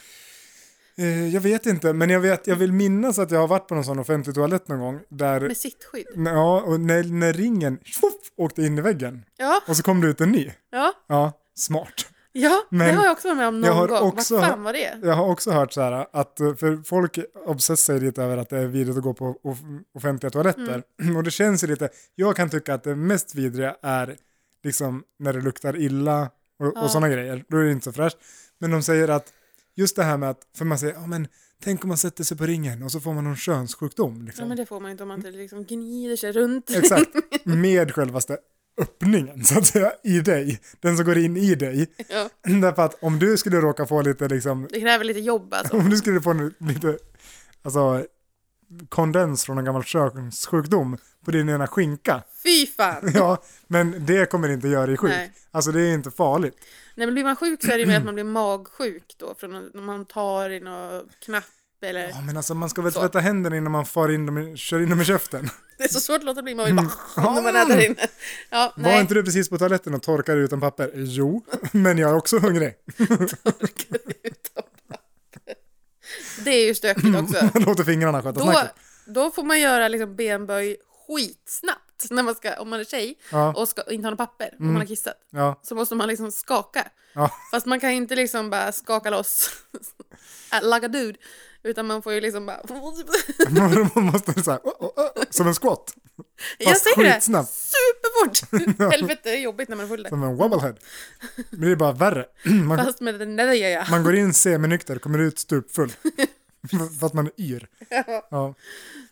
Speaker 1: Eh, Jag vet inte, men jag, vet, jag vill minnas att jag har varit på någon sån offentlig toalett någon gång. Där,
Speaker 2: Med sitt skydd.
Speaker 1: ja, och när, när ringen tjoff, åkte in i väggen.
Speaker 2: Ja,
Speaker 1: Och så kom det ut en ny.
Speaker 2: ja,
Speaker 1: Ja, smart.
Speaker 2: ja, det
Speaker 1: Men
Speaker 2: har jag också varit med om
Speaker 1: jag
Speaker 2: någon
Speaker 1: har
Speaker 2: gång.
Speaker 1: också-
Speaker 2: Vad fan var det?
Speaker 1: Jag har också hört så här att, eh, för folk obsessar ju lite över att det är vidrigt att gå på off- offentliga toaletter. Och det känns ju lite, jag kan tycka att det mest vidriga är liksom när det luktar illa och, och sådana grejer. Då är det inte så fräscht. Men de säger att, just det här med att, för man säger, ja men Tänk om man sätter sig på ringen och så får man någon könssjukdom.
Speaker 2: Ja,
Speaker 1: Liksom.
Speaker 2: men det får man inte om man inte liksom gnider sig runt.
Speaker 1: Exakt, med självaste öppningen så att säga i dig. Den som går in i dig.
Speaker 2: Ja,
Speaker 1: Därför att om du skulle råka få lite liksom,
Speaker 2: det kräver lite jobb alltså.
Speaker 1: om du skulle få en lite, alltså kondens från en gammal könssjukdom på din ena skinka. <laughs>
Speaker 2: Fy fan!
Speaker 1: Ja, men det kommer inte göra dig sjuk.
Speaker 2: Nej.
Speaker 1: Alltså det är inte farligt.
Speaker 2: Nej, men blir man sjuk så är det ju mer att man blir magsjuk då, från att- när man tar i någon knapp eller...
Speaker 1: Ja, men alltså man ska väl
Speaker 2: Så.
Speaker 1: tvätta händerna innan man far in dem, i- kör in dem i käften.
Speaker 2: Det är så svårt att låta bli, man vill bara... <laughs> När man är där inne. Ja,
Speaker 1: Mm. Var
Speaker 2: nej.
Speaker 1: inte du precis på toaletten och torkade utan papper? Jo, <laughs> men jag är också hungrig.
Speaker 2: torkar ut av papper. Det är ju stökigt också.
Speaker 1: <laughs> Man låter fingrarna sköta
Speaker 2: Då,
Speaker 1: snacket.
Speaker 2: då får man göra liksom benböj skitsnabbt när man ska, om man är tjej
Speaker 1: Ja, Mm.
Speaker 2: och ska, inte har något papper, om man har kissat.
Speaker 1: ja,
Speaker 2: Så måste man liksom skaka.
Speaker 1: ja. <laughs>
Speaker 2: Fast man kan ju inte liksom bara skaka loss, <laughs> äh, like a dude. Utan man får ju liksom bara... <laughs>
Speaker 1: Man måste så här, oh, oh, oh, som en squat.
Speaker 2: Jag säger det!
Speaker 1: skitsnabbt.
Speaker 2: Superfort!
Speaker 1: <laughs>
Speaker 2: Helvete, det är jobbigt när man är full. där.
Speaker 1: Som en wobblehead. Men det är bara värre. <clears throat> Man,
Speaker 2: Fast med den där gör jag.
Speaker 1: man går in seminykter, kommer ut
Speaker 2: <laughs>
Speaker 1: stupfull. För att man är yr. Ja.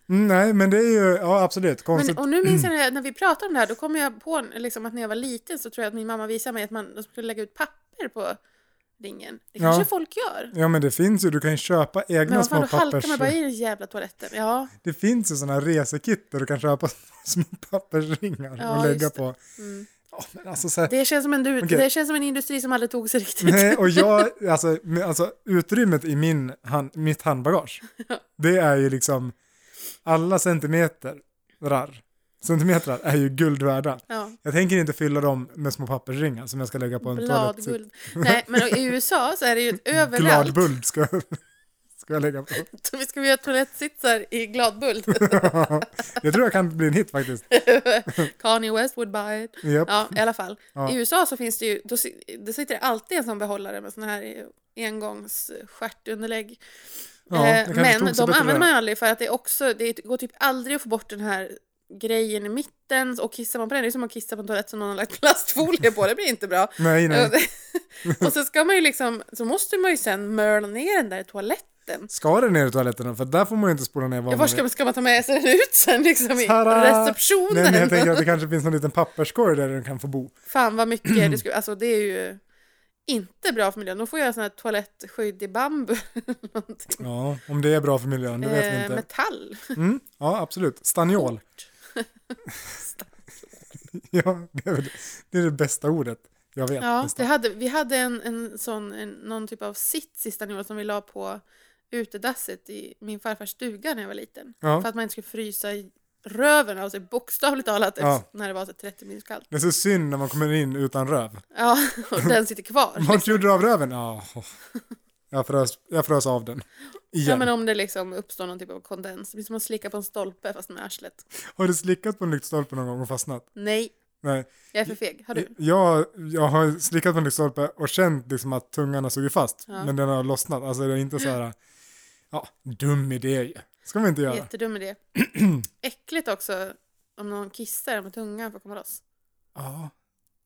Speaker 1: Mm, Nej, men det är ju, ja absolut, konstigt.
Speaker 2: Men, och nu minns jag
Speaker 1: Mm.
Speaker 2: när- när vi pratade om det här, då kom jag på liksom, att när jag var liten så tror jag att min mamma visade mig att man de skulle lägga ut papper på ringen. Det kanske
Speaker 1: Ja.
Speaker 2: folk gör.
Speaker 1: Ja men det finns ju, du kan ju köpa
Speaker 2: Men
Speaker 1: egna
Speaker 2: vad fan,
Speaker 1: små
Speaker 2: då halkar man bara
Speaker 1: pappers...
Speaker 2: i den jävla toaletten. Ja,
Speaker 1: Det finns ju sådana resekit där du kan köpa <laughs> små pappersringar
Speaker 2: Ja,
Speaker 1: och lägga
Speaker 2: just det.
Speaker 1: på.
Speaker 2: Mm.
Speaker 1: Ja, men alltså, så här,
Speaker 2: det känns som en, du-
Speaker 1: Okej.
Speaker 2: det känns som en industri som aldrig tog sig riktigt.
Speaker 1: <laughs> Nej, och jag, alltså, men, alltså utrymmet i min hand, mitt handbagage, det är ju liksom alla centimeter rar, centimetrar är ju guld värda.
Speaker 2: Ja.
Speaker 1: Jag tänker inte fylla dem med små pappersringar som jag ska lägga på en toalett.
Speaker 2: Bladguld. Nej, men i USA så är det ju
Speaker 1: <laughs>
Speaker 2: överallt.
Speaker 1: Gladbuld ska, jag- <laughs> ska jag lägga på.
Speaker 2: Så Vi ska vi göra toalettsitsar
Speaker 1: <laughs>
Speaker 2: i gladbult.
Speaker 1: Jag tror jag kan bli en hit
Speaker 2: <laughs>
Speaker 1: faktiskt.
Speaker 2: Kanye West would buy it.
Speaker 1: Japp.
Speaker 2: Ja, i alla fall.
Speaker 1: Ja.
Speaker 2: I USA så finns det ju, då, si- då sitter det alltid en sån behållare med sån här engångsstjärtunderlägg.
Speaker 1: Ja, det
Speaker 2: Eh,
Speaker 1: kanske
Speaker 2: men
Speaker 1: tog
Speaker 2: de
Speaker 1: sig bättre
Speaker 2: använder
Speaker 1: där.
Speaker 2: man ju aldrig för att det är också, det går typ aldrig att få bort den här grejen i mitten och kissar man på den, det är som att kissa på en toalett som någon har lagt plastfolie på, det blir inte bra.
Speaker 1: Nej, <laughs> nej.
Speaker 2: och <laughs> så ska man ju liksom, så måste man ju sen mörla ner den där i toaletten.
Speaker 1: Ska det ner i toaletterna? För där får man ju inte spola ner vad
Speaker 2: Ja, var
Speaker 1: man
Speaker 2: ska
Speaker 1: vill.
Speaker 2: man, ska man ta med sig den ut sen liksom i
Speaker 1: Tada!
Speaker 2: receptionen?
Speaker 1: Nej, men jag tänker att det kanske finns någon liten papperskorg där den kan få bo.
Speaker 2: Fan vad
Speaker 1: <clears throat>
Speaker 2: mycket det skulle, alltså det är ju inte bra för miljön. De får göra sådana här toalettskydd i bambu. eller någonting.
Speaker 1: Ja, om det är bra för miljön, <laughs> det vet vi
Speaker 2: Eh,
Speaker 1: inte.
Speaker 2: metall.
Speaker 1: Mm, ja, absolut.
Speaker 2: <laughs>
Speaker 1: Stanniol. ja, det är, väl, det är det bästa ordet jag vet.
Speaker 2: Ja, det
Speaker 1: nästan.
Speaker 2: hade, vi hade en, en sån, en, någon typ av sits i Stanjol som vi la på utedasset i min farfars stuga när jag var liten.
Speaker 1: Ja.
Speaker 2: För att man inte skulle frysa i röven av sig bokstavligt talat
Speaker 1: Ja.
Speaker 2: efter- när det var så 30 minus kallt.
Speaker 1: det är så synd när man kommer in utan röv.
Speaker 2: Ja, <laughs> och den sitter kvar.
Speaker 1: <laughs> Vad gjorde du av röven? Ja, jag frös, jag frös av den. Igen.
Speaker 2: Ja, men om det liksom uppstår någon typ av kondens. Det blir som att slicka på en stolpe fast med arslet.
Speaker 1: Har du slickat på en lyktstolpe någon gång och fastnat?
Speaker 2: Nej,
Speaker 1: Nej.
Speaker 2: jag är för feg. Har du?
Speaker 1: Jag, jag har slickat på en lyktstolpe och känt liksom att tungan har sugit fast. Men den har lossnat. Alltså det är inte så här, ja, dum idé ju. ska man inte göra. <clears throat>
Speaker 2: Jättedum idé. Äckligt också om någon kissar med tungan för att komma loss.
Speaker 1: Ja.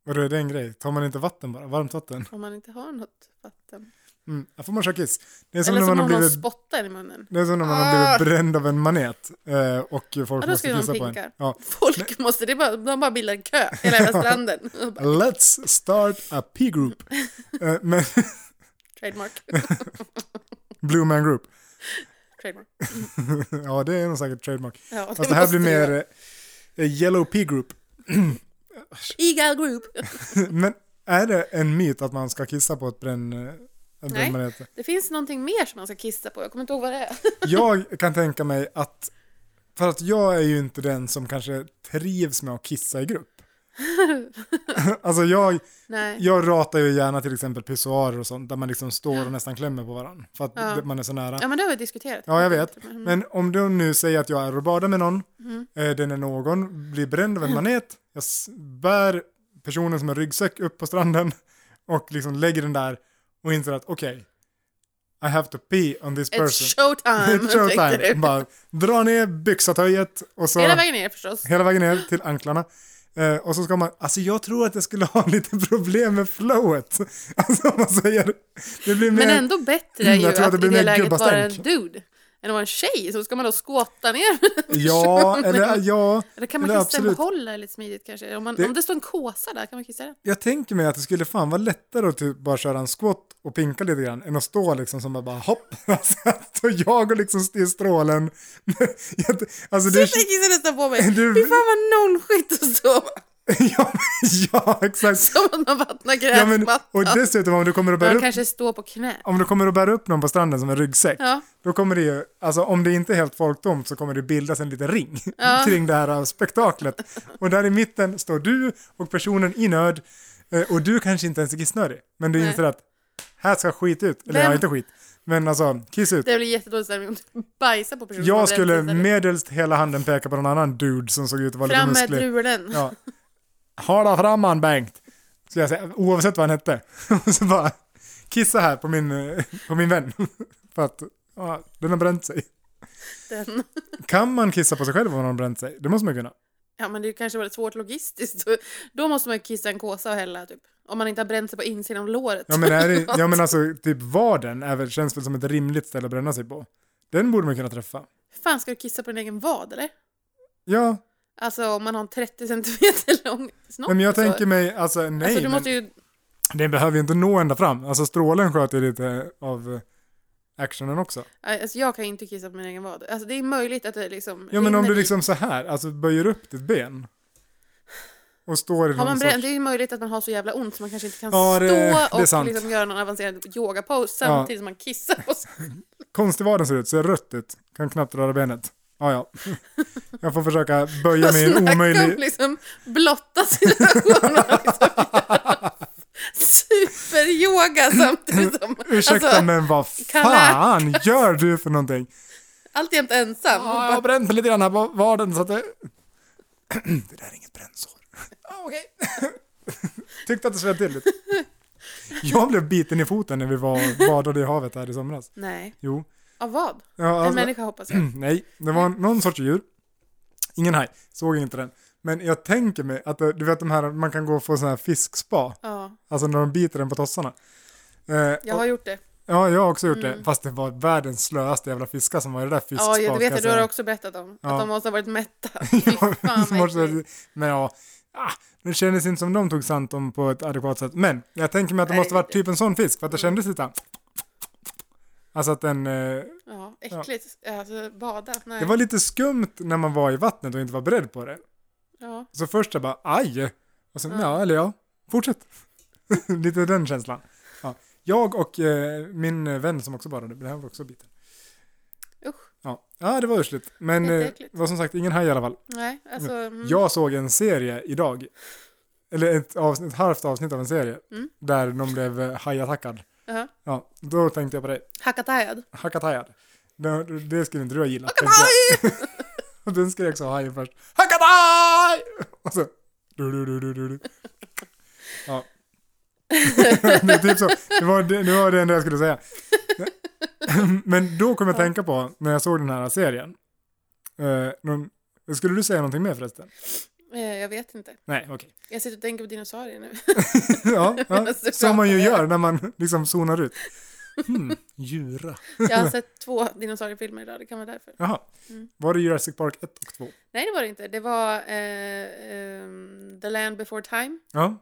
Speaker 1: Vadå, är det en grej? Tar man inte vatten bara? Varmt vatten?
Speaker 2: Om man inte har något vatten.
Speaker 1: Mm, här får man köra kiss. Det är som
Speaker 2: Eller
Speaker 1: när
Speaker 2: som
Speaker 1: man
Speaker 2: om
Speaker 1: har
Speaker 2: någon
Speaker 1: blivit,
Speaker 2: spottar i munnen.
Speaker 1: det är som när man har blivit bränd av en manet eh, och folk
Speaker 2: Ah! då
Speaker 1: måste
Speaker 2: ska man
Speaker 1: kissa på
Speaker 2: pinka.
Speaker 1: en. Ja.
Speaker 2: Folk måste, det är bara, de bara bildar en kö hela jävla stranden. <laughs>
Speaker 1: Let's start a P-group. eh, men, <laughs>
Speaker 2: Trademark.
Speaker 1: Blue Man Group.
Speaker 2: Trademark.
Speaker 1: ja, det är nog säkert trademark.
Speaker 2: Ja, det
Speaker 1: Fast det här
Speaker 2: måste
Speaker 1: blir
Speaker 2: det
Speaker 1: mer
Speaker 2: vara.
Speaker 1: eh, Yellow P-group.
Speaker 2: Eagle Group.
Speaker 1: <laughs>
Speaker 2: <laughs>
Speaker 1: men är det en myt att man ska kissa på ett bränn... eh, En
Speaker 2: Nej.
Speaker 1: bränd manet?
Speaker 2: Det finns någonting mer som man ska kissa på. Jag kommer inte ihåg vad det är. <laughs>
Speaker 1: jag kan tänka mig att, för att jag är ju inte den som kanske trivs med att kissa i
Speaker 2: <laughs>
Speaker 1: grupp. alltså jag,
Speaker 2: Nej.
Speaker 1: jag ratar ju gärna till exempel pissoarer och sånt där man liksom står och nästan klämmer på varandra för att det- man är så nära.
Speaker 2: Ja men det har vi diskuterat.
Speaker 1: Ja, jag vet.
Speaker 2: Mm.
Speaker 1: Men om du nu säger att jag är och badar med någon, eh, den är någon, blir bränd av
Speaker 2: Mm.
Speaker 1: en manet, jag s- bär personen som en ryggsäck upp på stranden <laughs> och liksom lägger den där och inser att okej, I have to pee on this
Speaker 2: It's
Speaker 1: person. <laughs>
Speaker 2: showtime. tänkte
Speaker 1: Showtime.
Speaker 2: du.
Speaker 1: Bara dra ner byxatöjet och så
Speaker 2: Hela vägen ner förstås.
Speaker 1: hela vägen ner till anklarna. Eh, och så ska man, alltså jag tror att jag skulle ha <laughs> lite problem med flowet. <laughs> Alltså om man säger, det blir mer...
Speaker 2: Men ändå bättre
Speaker 1: Mm,
Speaker 2: ju
Speaker 1: jag tror
Speaker 2: att,
Speaker 1: att det
Speaker 2: i
Speaker 1: blir mer
Speaker 2: det läget vara en
Speaker 1: gubbastank.
Speaker 2: dude än att vara en tjej. Så ska man då skåta ner <laughs>
Speaker 1: Ja, eller ja.
Speaker 2: Eller kan man
Speaker 1: eller
Speaker 2: kissa
Speaker 1: absolut.
Speaker 2: en behållare lite smidigt kanske? Om, man,
Speaker 1: Det-
Speaker 2: om det står en kåsa där, kan man kissa den?
Speaker 1: Jag tänker mig att det skulle fan vara lättare att typ bara köra en squat och pinka lite grann än att stå liksom som bara hopp. <laughs> Alltså, att stå jag och liksom i strålen. <laughs> Jag- alltså, det,
Speaker 2: Jag kissar nästan på mig!
Speaker 1: <laughs> Du-
Speaker 2: Fy fan vad nonskigt att sova!
Speaker 1: <laughs> ja, men- ja, exakt.
Speaker 2: Som att man vattnar
Speaker 1: Ja, men,
Speaker 2: gräsmattan.
Speaker 1: och dessutom om du kommer att bära
Speaker 2: Man
Speaker 1: upp
Speaker 2: kanske står på knä.
Speaker 1: om du kommer att bära upp någon på stranden som en ryggsäck,
Speaker 2: Ja.
Speaker 1: då kommer det ju, alltså om det inte är helt folktomt så kommer det bildas en liten ring
Speaker 2: Ja.
Speaker 1: <laughs> kring det här spektaklet. Och där i mitten står du och personen i nöd, eh, och du kanske inte ens är kissnödig, men du
Speaker 2: Nej.
Speaker 1: inser att här ska skit ut, eller
Speaker 2: Vem-
Speaker 1: ja, inte skit, men alltså kiss ut.
Speaker 2: Det blir jättedålig stämning om du bajsar på personen. som har
Speaker 1: Jag skulle
Speaker 2: bränt sig.
Speaker 1: medelst hela handen peka på någon annan dude som såg ut att vara lite
Speaker 2: Fram med
Speaker 1: musklig.
Speaker 2: drulen.
Speaker 1: Ja. Hala fram han Bengt! Så jag säger, oavsett vad han hette. <laughs> Och så bara, kissa här på min, eh, på min vän. <laughs> För att ja, den har bränt sig.
Speaker 2: Den.
Speaker 1: Kan man kissa på sig själv om man har bränt sig? Det måste man kunna.
Speaker 2: Ja men det är ju kanske väldigt svårt logistiskt. Då måste man ju kissa en kåsa och hälla typ. Om man inte har bränt sig på insidan av låret.
Speaker 1: Ja men, är det, ja, men alltså, typ vaden är väl, känns väl som ett rimligt ställe att bränna sig på. Den borde man kunna träffa.
Speaker 2: <laughs> Fan ska du kissa på din egen vad eller?
Speaker 1: Ja,
Speaker 2: Alltså om man har en 30 centimeter lång snopp.
Speaker 1: men jag
Speaker 2: så-
Speaker 1: tänker mig, alltså nej,
Speaker 2: Alltså du
Speaker 1: men
Speaker 2: måste ju...
Speaker 1: den behöver ju inte nå ända fram. Alltså strålen sköter ju lite av eh, actionen också.
Speaker 2: Nej, Alltså jag kan ju inte kissa på min egen vad. Alltså det är möjligt att det liksom...
Speaker 1: Ja men om
Speaker 2: rinner
Speaker 1: du
Speaker 2: i.
Speaker 1: liksom så här, alltså böjer upp ditt ben. Och står i
Speaker 2: Har man
Speaker 1: någon
Speaker 2: bränt,
Speaker 1: sorts...
Speaker 2: det är ju möjligt att man har så jävla ont så man kanske inte kan
Speaker 1: Ja, det-
Speaker 2: stå
Speaker 1: det är
Speaker 2: och
Speaker 1: sant.
Speaker 2: liksom göra någon avancerad yogapose samtidigt som man kissar på sig.
Speaker 1: Konstig vad den ser ut, ser rött ut. Kan knappt röra benet. Ja, ja. Jag får försöka böja
Speaker 2: Och
Speaker 1: mig i en
Speaker 2: <laughs> snacka om
Speaker 1: omöjlig...
Speaker 2: liksom blotta situationer. och liksom göra Superyoga samtidigt som...
Speaker 1: <laughs> Ursäkta
Speaker 2: alltså,
Speaker 1: men vad
Speaker 2: Kalle
Speaker 1: fan gör du för någonting?
Speaker 2: Alltjämt ensam. och
Speaker 1: Ja, jag har
Speaker 2: bara,
Speaker 1: bränt mig lite grann här på vaden så att det... <clears throat> Det där är inget brännsår. Ah, Okej. Tyckte att det svedde till lite. Jag blev biten i foten när vi var, badade i havet här i somras.
Speaker 2: nej.
Speaker 1: Jo.
Speaker 2: Av vad?
Speaker 1: Ja, alltså-
Speaker 2: En människa hoppas
Speaker 1: <clears throat>
Speaker 2: jag.
Speaker 1: Nej, det var någon sorts djur. Ingen haj, såg inte den. Men jag tänker mig att eh, du vet de här, man kan gå och få sån här fiskspa.
Speaker 2: Ja,
Speaker 1: Alltså när de biter den på tossarna. Eh,
Speaker 2: jag
Speaker 1: och,
Speaker 2: har gjort det.
Speaker 1: ja, jag har också gjort det. Fast det var världens slöaste jävla fiskar som var i det där fiskspa.
Speaker 2: Ja, jag
Speaker 1: ska
Speaker 2: vet det. Du har
Speaker 1: säga.
Speaker 2: också berättat om.
Speaker 1: Ja.
Speaker 2: Att de måste ha
Speaker 1: <laughs>
Speaker 2: varit mätta. Fy fan
Speaker 1: Som
Speaker 2: vad
Speaker 1: måste-
Speaker 2: äckligt.
Speaker 1: Men ja, ah, det kändes inte som de tog sant om på ett adekvat sätt. Men jag tänker mig att det
Speaker 2: Nej,
Speaker 1: måste varit
Speaker 2: det-
Speaker 1: typ en sån fisk. För att det
Speaker 2: Mm.
Speaker 1: kändes lite... Alltså att den... Eh,
Speaker 2: Ja, äckligt. Alltså, bada. Nej.
Speaker 1: det var lite skumt när man var i vattnet och inte var beredd på det.
Speaker 2: Ja.
Speaker 1: Så först jag bara aj. Och sen ja, eller ja, fortsätt. <laughs> Lite den känslan. Ja. Jag och eh, min vän som också badade, det här var också biten.
Speaker 2: Usch.
Speaker 1: Ja, ja det var ursligt. Men eh,
Speaker 2: Jätteäckligt.
Speaker 1: var som sagt ingen haj i alla fall.
Speaker 2: Nej, alltså... Mm.
Speaker 1: Jag såg en serie idag. Eller ett, avsnitt, ett halvt avsnitt av en serie. Där de blev eh, hajattackad.
Speaker 2: Jaha.
Speaker 1: Ja, då tänkte jag på dig.
Speaker 2: Hackatajad.
Speaker 1: Hackatajad. Det, det skulle inte du ha gillat. Hackataj! <laughs> Och den skrek så hajen först. Hackataj! Och så... Du, du, du, du, du, du. Ja. <laughs> det, är typ så. Det, var, det, det var det enda jag skulle säga. <laughs> Men då kom jag att tänka på, när jag såg den här serien. Eh, någon, skulle du säga någonting mer förresten?
Speaker 2: Eh, Jag vet inte.
Speaker 1: Nej, okej. <laughs>
Speaker 2: Jag sitter och tänker på dinosaurier nu.
Speaker 1: ja, ja,
Speaker 2: <laughs> Alltså,
Speaker 1: som man ju
Speaker 2: ja.
Speaker 1: gör när man liksom zonar ut. Hmm, djura.
Speaker 2: Jag har sett två dinosauriefilmer idag, det kan vara därför.
Speaker 1: Jaha. Var det Jurassic Park 1 och 2?
Speaker 2: Nej, det var det inte. Det var eh, ehm, The Land Before Time,
Speaker 1: Ja.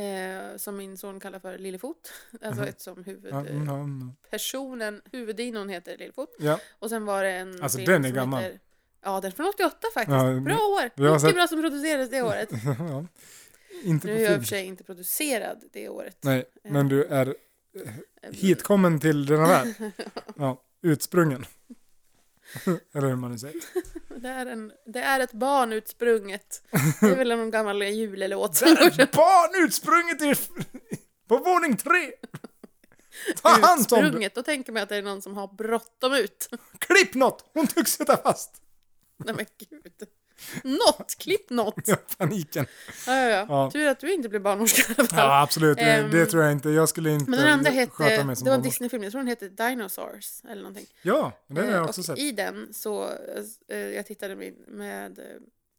Speaker 2: eh, som min son kallar för Lillefot. Alltså ett som
Speaker 1: Ja, mm,
Speaker 2: huvudpersonen,
Speaker 1: ja, mm.
Speaker 2: huvuddinon heter Lillefot.
Speaker 1: ja.
Speaker 2: Och sen var det en
Speaker 1: Alltså,
Speaker 2: film
Speaker 1: den är
Speaker 2: som
Speaker 1: gammal.
Speaker 2: Heter, ja, den är från 88 faktiskt.
Speaker 1: Ja, men-
Speaker 2: bra år!
Speaker 1: jag har
Speaker 2: Mycket
Speaker 1: sett-
Speaker 2: bra som producerades det året.
Speaker 1: ja. <laughs> Inte
Speaker 2: Nu
Speaker 1: på
Speaker 2: är jag i och
Speaker 1: film.
Speaker 2: för sig inte producerad det året.
Speaker 1: Nej, men du är eh, hitkommen till denna värld.
Speaker 2: <laughs>
Speaker 1: Ja, utsprungen. <laughs> Eller hur man nu
Speaker 2: <laughs>
Speaker 1: säger.
Speaker 2: Det är, en, det är ett
Speaker 1: <laughs>
Speaker 2: barn utsprunget. Det är väl någon gammal julelåt som går
Speaker 1: Ett barn utsprunget i, <laughs> på våning tre!
Speaker 2: <laughs>
Speaker 1: Ta hand om det!
Speaker 2: utsprunget. Då tänker man att det är någon som har bråttom ut. <laughs>
Speaker 1: Klipp något! Hon tycks sitta fast!
Speaker 2: Nej men gud. Något, klipp något.
Speaker 1: Ja, paniken.
Speaker 2: Ja, ja, ja.
Speaker 1: Ja.
Speaker 2: Tur att du inte blev barnmorska i alla fall.
Speaker 1: Ja, absolut. det-
Speaker 2: Ehm,
Speaker 1: det tror jag inte. Jag skulle inte
Speaker 2: Men den andra
Speaker 1: sköta
Speaker 2: hette,
Speaker 1: mig som
Speaker 2: det var
Speaker 1: barnmorska.
Speaker 2: en Disney-film, jag tror den hette Dinosaurs eller någonting.
Speaker 1: Ja, den har
Speaker 2: Eh,
Speaker 1: jag också
Speaker 2: och
Speaker 1: sett.
Speaker 2: i den så, eh, jag tittade med, med eh,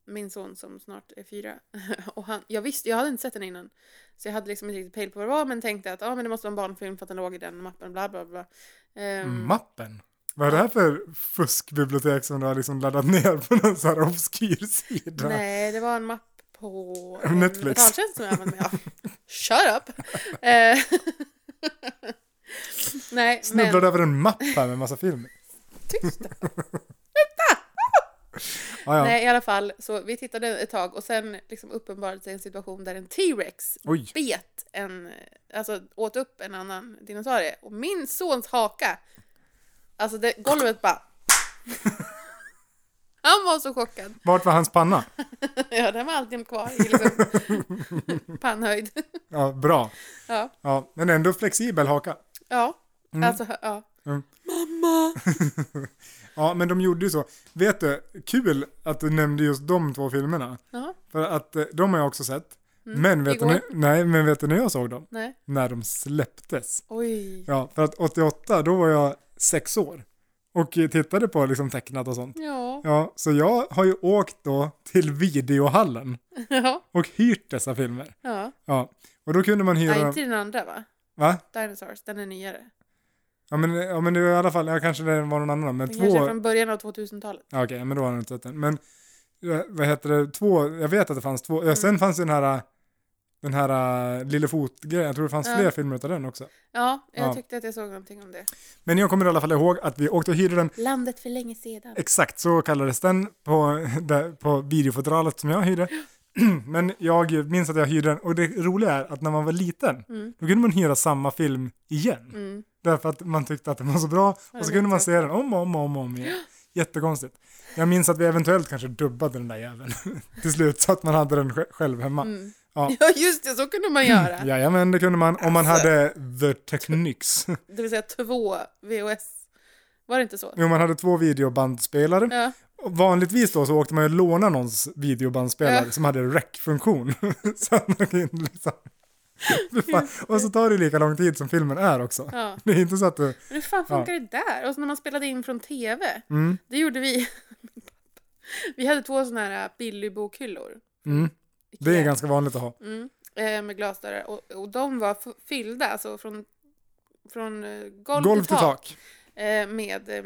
Speaker 2: min son som snart är fyra. <laughs> Och han, jag visste, jag hade inte sett den innan. Så jag hade liksom inte riktigt pejl på vad det var men tänkte att ah, men det måste vara en barnfilm för att den låg i den mappen bla bla bla. Ehm,
Speaker 1: Mm. Mappen? Vad är det här för fuskbibliotek som du har liksom laddat ner på någon sån här obskyr sida?
Speaker 2: Nej, det var en mapp på
Speaker 1: Av <laughs>
Speaker 2: en
Speaker 1: Netflix.
Speaker 2: betaltjänst som jag använde mig av. <laughs> Shut up!
Speaker 1: <laughs>
Speaker 2: Eh, <laughs> Nej, men...
Speaker 1: Snubblade över en mapp här med massa film.
Speaker 2: Tyst.
Speaker 1: <laughs> Ah, ja.
Speaker 2: Nej, i alla fall. Så vi tittade ett tag och sen liksom uppenbarade sig en situation där en T-rex
Speaker 1: Oj.
Speaker 2: bet en, alltså åt upp en annan dinosaurie. Och min sons haka, alltså det,
Speaker 1: <laughs>
Speaker 2: golvet bara... Han var så chockad. <laughs>
Speaker 1: Vart var hans panna?
Speaker 2: Ja, den var alltid kvar
Speaker 1: <laughs>
Speaker 2: i liksom pannhöjd. <laughs>
Speaker 1: Ja, bra.
Speaker 2: Ja,
Speaker 1: Ja, men ändå flexibel haka.
Speaker 2: ja.
Speaker 1: Mm.
Speaker 2: Alltså, ja.
Speaker 1: Ja, men de gjorde ju så. Vet du, kul att du nämnde just de två filmerna.
Speaker 2: ja.
Speaker 1: För att eh, de har jag också sett. Men, vet du,
Speaker 2: Mm. Igår.
Speaker 1: när- nej, men vet du när jag såg dem?
Speaker 2: Nej.
Speaker 1: När de släpptes.
Speaker 2: Oj.
Speaker 1: Ja, för att 88, då var jag sex år. Och eh, tittade på liksom tecknat och sånt.
Speaker 2: Ja. <laughs>
Speaker 1: Ja, så jag har ju åkt då till videohallen
Speaker 2: Ja.
Speaker 1: och hyrt dessa filmer.
Speaker 2: ja.
Speaker 1: Ja, och då kunde man hyra...
Speaker 2: Nej,
Speaker 1: dem-
Speaker 2: inte den andra va?
Speaker 1: Va?
Speaker 2: Dinosaurs, den är nyare.
Speaker 1: Ja, men, ja, men det var i alla fall, ja, kanske det var någon annan, men
Speaker 2: Den
Speaker 1: två...
Speaker 2: kanske är från början av 2000-talet.
Speaker 1: Ja, Okej, men då har han inte sett den. Men eh, vad heter det, två, jag vet att det fanns
Speaker 2: Mm.
Speaker 1: två, ja, sen fanns ju den här, eh, den här eh, Lille Fot-grejen, jag tror det fanns
Speaker 2: Ja.
Speaker 1: fler filmer utav den också.
Speaker 2: Ja, jag
Speaker 1: Ja.
Speaker 2: tyckte att jag såg någonting om det.
Speaker 1: Men jag kommer i alla fall ihåg att vi åkte och hyrde den,
Speaker 2: Landet för länge sedan. <laughs>
Speaker 1: exakt så kallades den på, <laughs> där, på videofodralet som jag hyrde. <clears throat> Men jag minns att jag hyrde den och det roliga är att när man var liten
Speaker 2: Mm.
Speaker 1: då kunde man hyra samma film igen.
Speaker 2: Mm.
Speaker 1: Därför att man tyckte att den var så bra
Speaker 2: Ja,
Speaker 1: och så
Speaker 2: det
Speaker 1: kunde man
Speaker 2: vet
Speaker 1: se den om och om och om, och om igen. Jättekonstigt. Jag minns att vi eventuellt kanske dubbade den där jäveln <laughs> till slut så att man hade den sj- själv hemma.
Speaker 2: Mm.
Speaker 1: Ja.
Speaker 2: Ja, just det, så
Speaker 1: <clears throat>
Speaker 2: kunde man göra.
Speaker 1: Jajamän, det kunde man om man
Speaker 2: Alltså.
Speaker 1: hade the techniques.
Speaker 2: Det vill säga två VHS. Var det inte så?
Speaker 1: Jo, man hade två videobandspelare.
Speaker 2: Ja.
Speaker 1: Och Vanligtvis då så åkte man ju låna någons videobandspelare
Speaker 2: Ja.
Speaker 1: som hade rec-funktion. <laughs> så att man kunde liksom... Fy fan. Och så tar det lika lång tid som filmen är också.
Speaker 2: ja.
Speaker 1: Det är inte så att du...
Speaker 2: Men hur fan funkar det där? Och så när man spelade in från TV.
Speaker 1: Mm,
Speaker 2: Det gjorde vi. <laughs> Min pappa. vi hade två sådana här äh, Billy-bokhyllor.
Speaker 1: mm. Det är
Speaker 2: Ikea.
Speaker 1: ganska vanligt att ha.
Speaker 2: Mm, eh, med glasdörrar. Och, och de var f- fyllda, alltså från, från eh, golv,
Speaker 1: Golv till tak.
Speaker 2: Eh, med eh,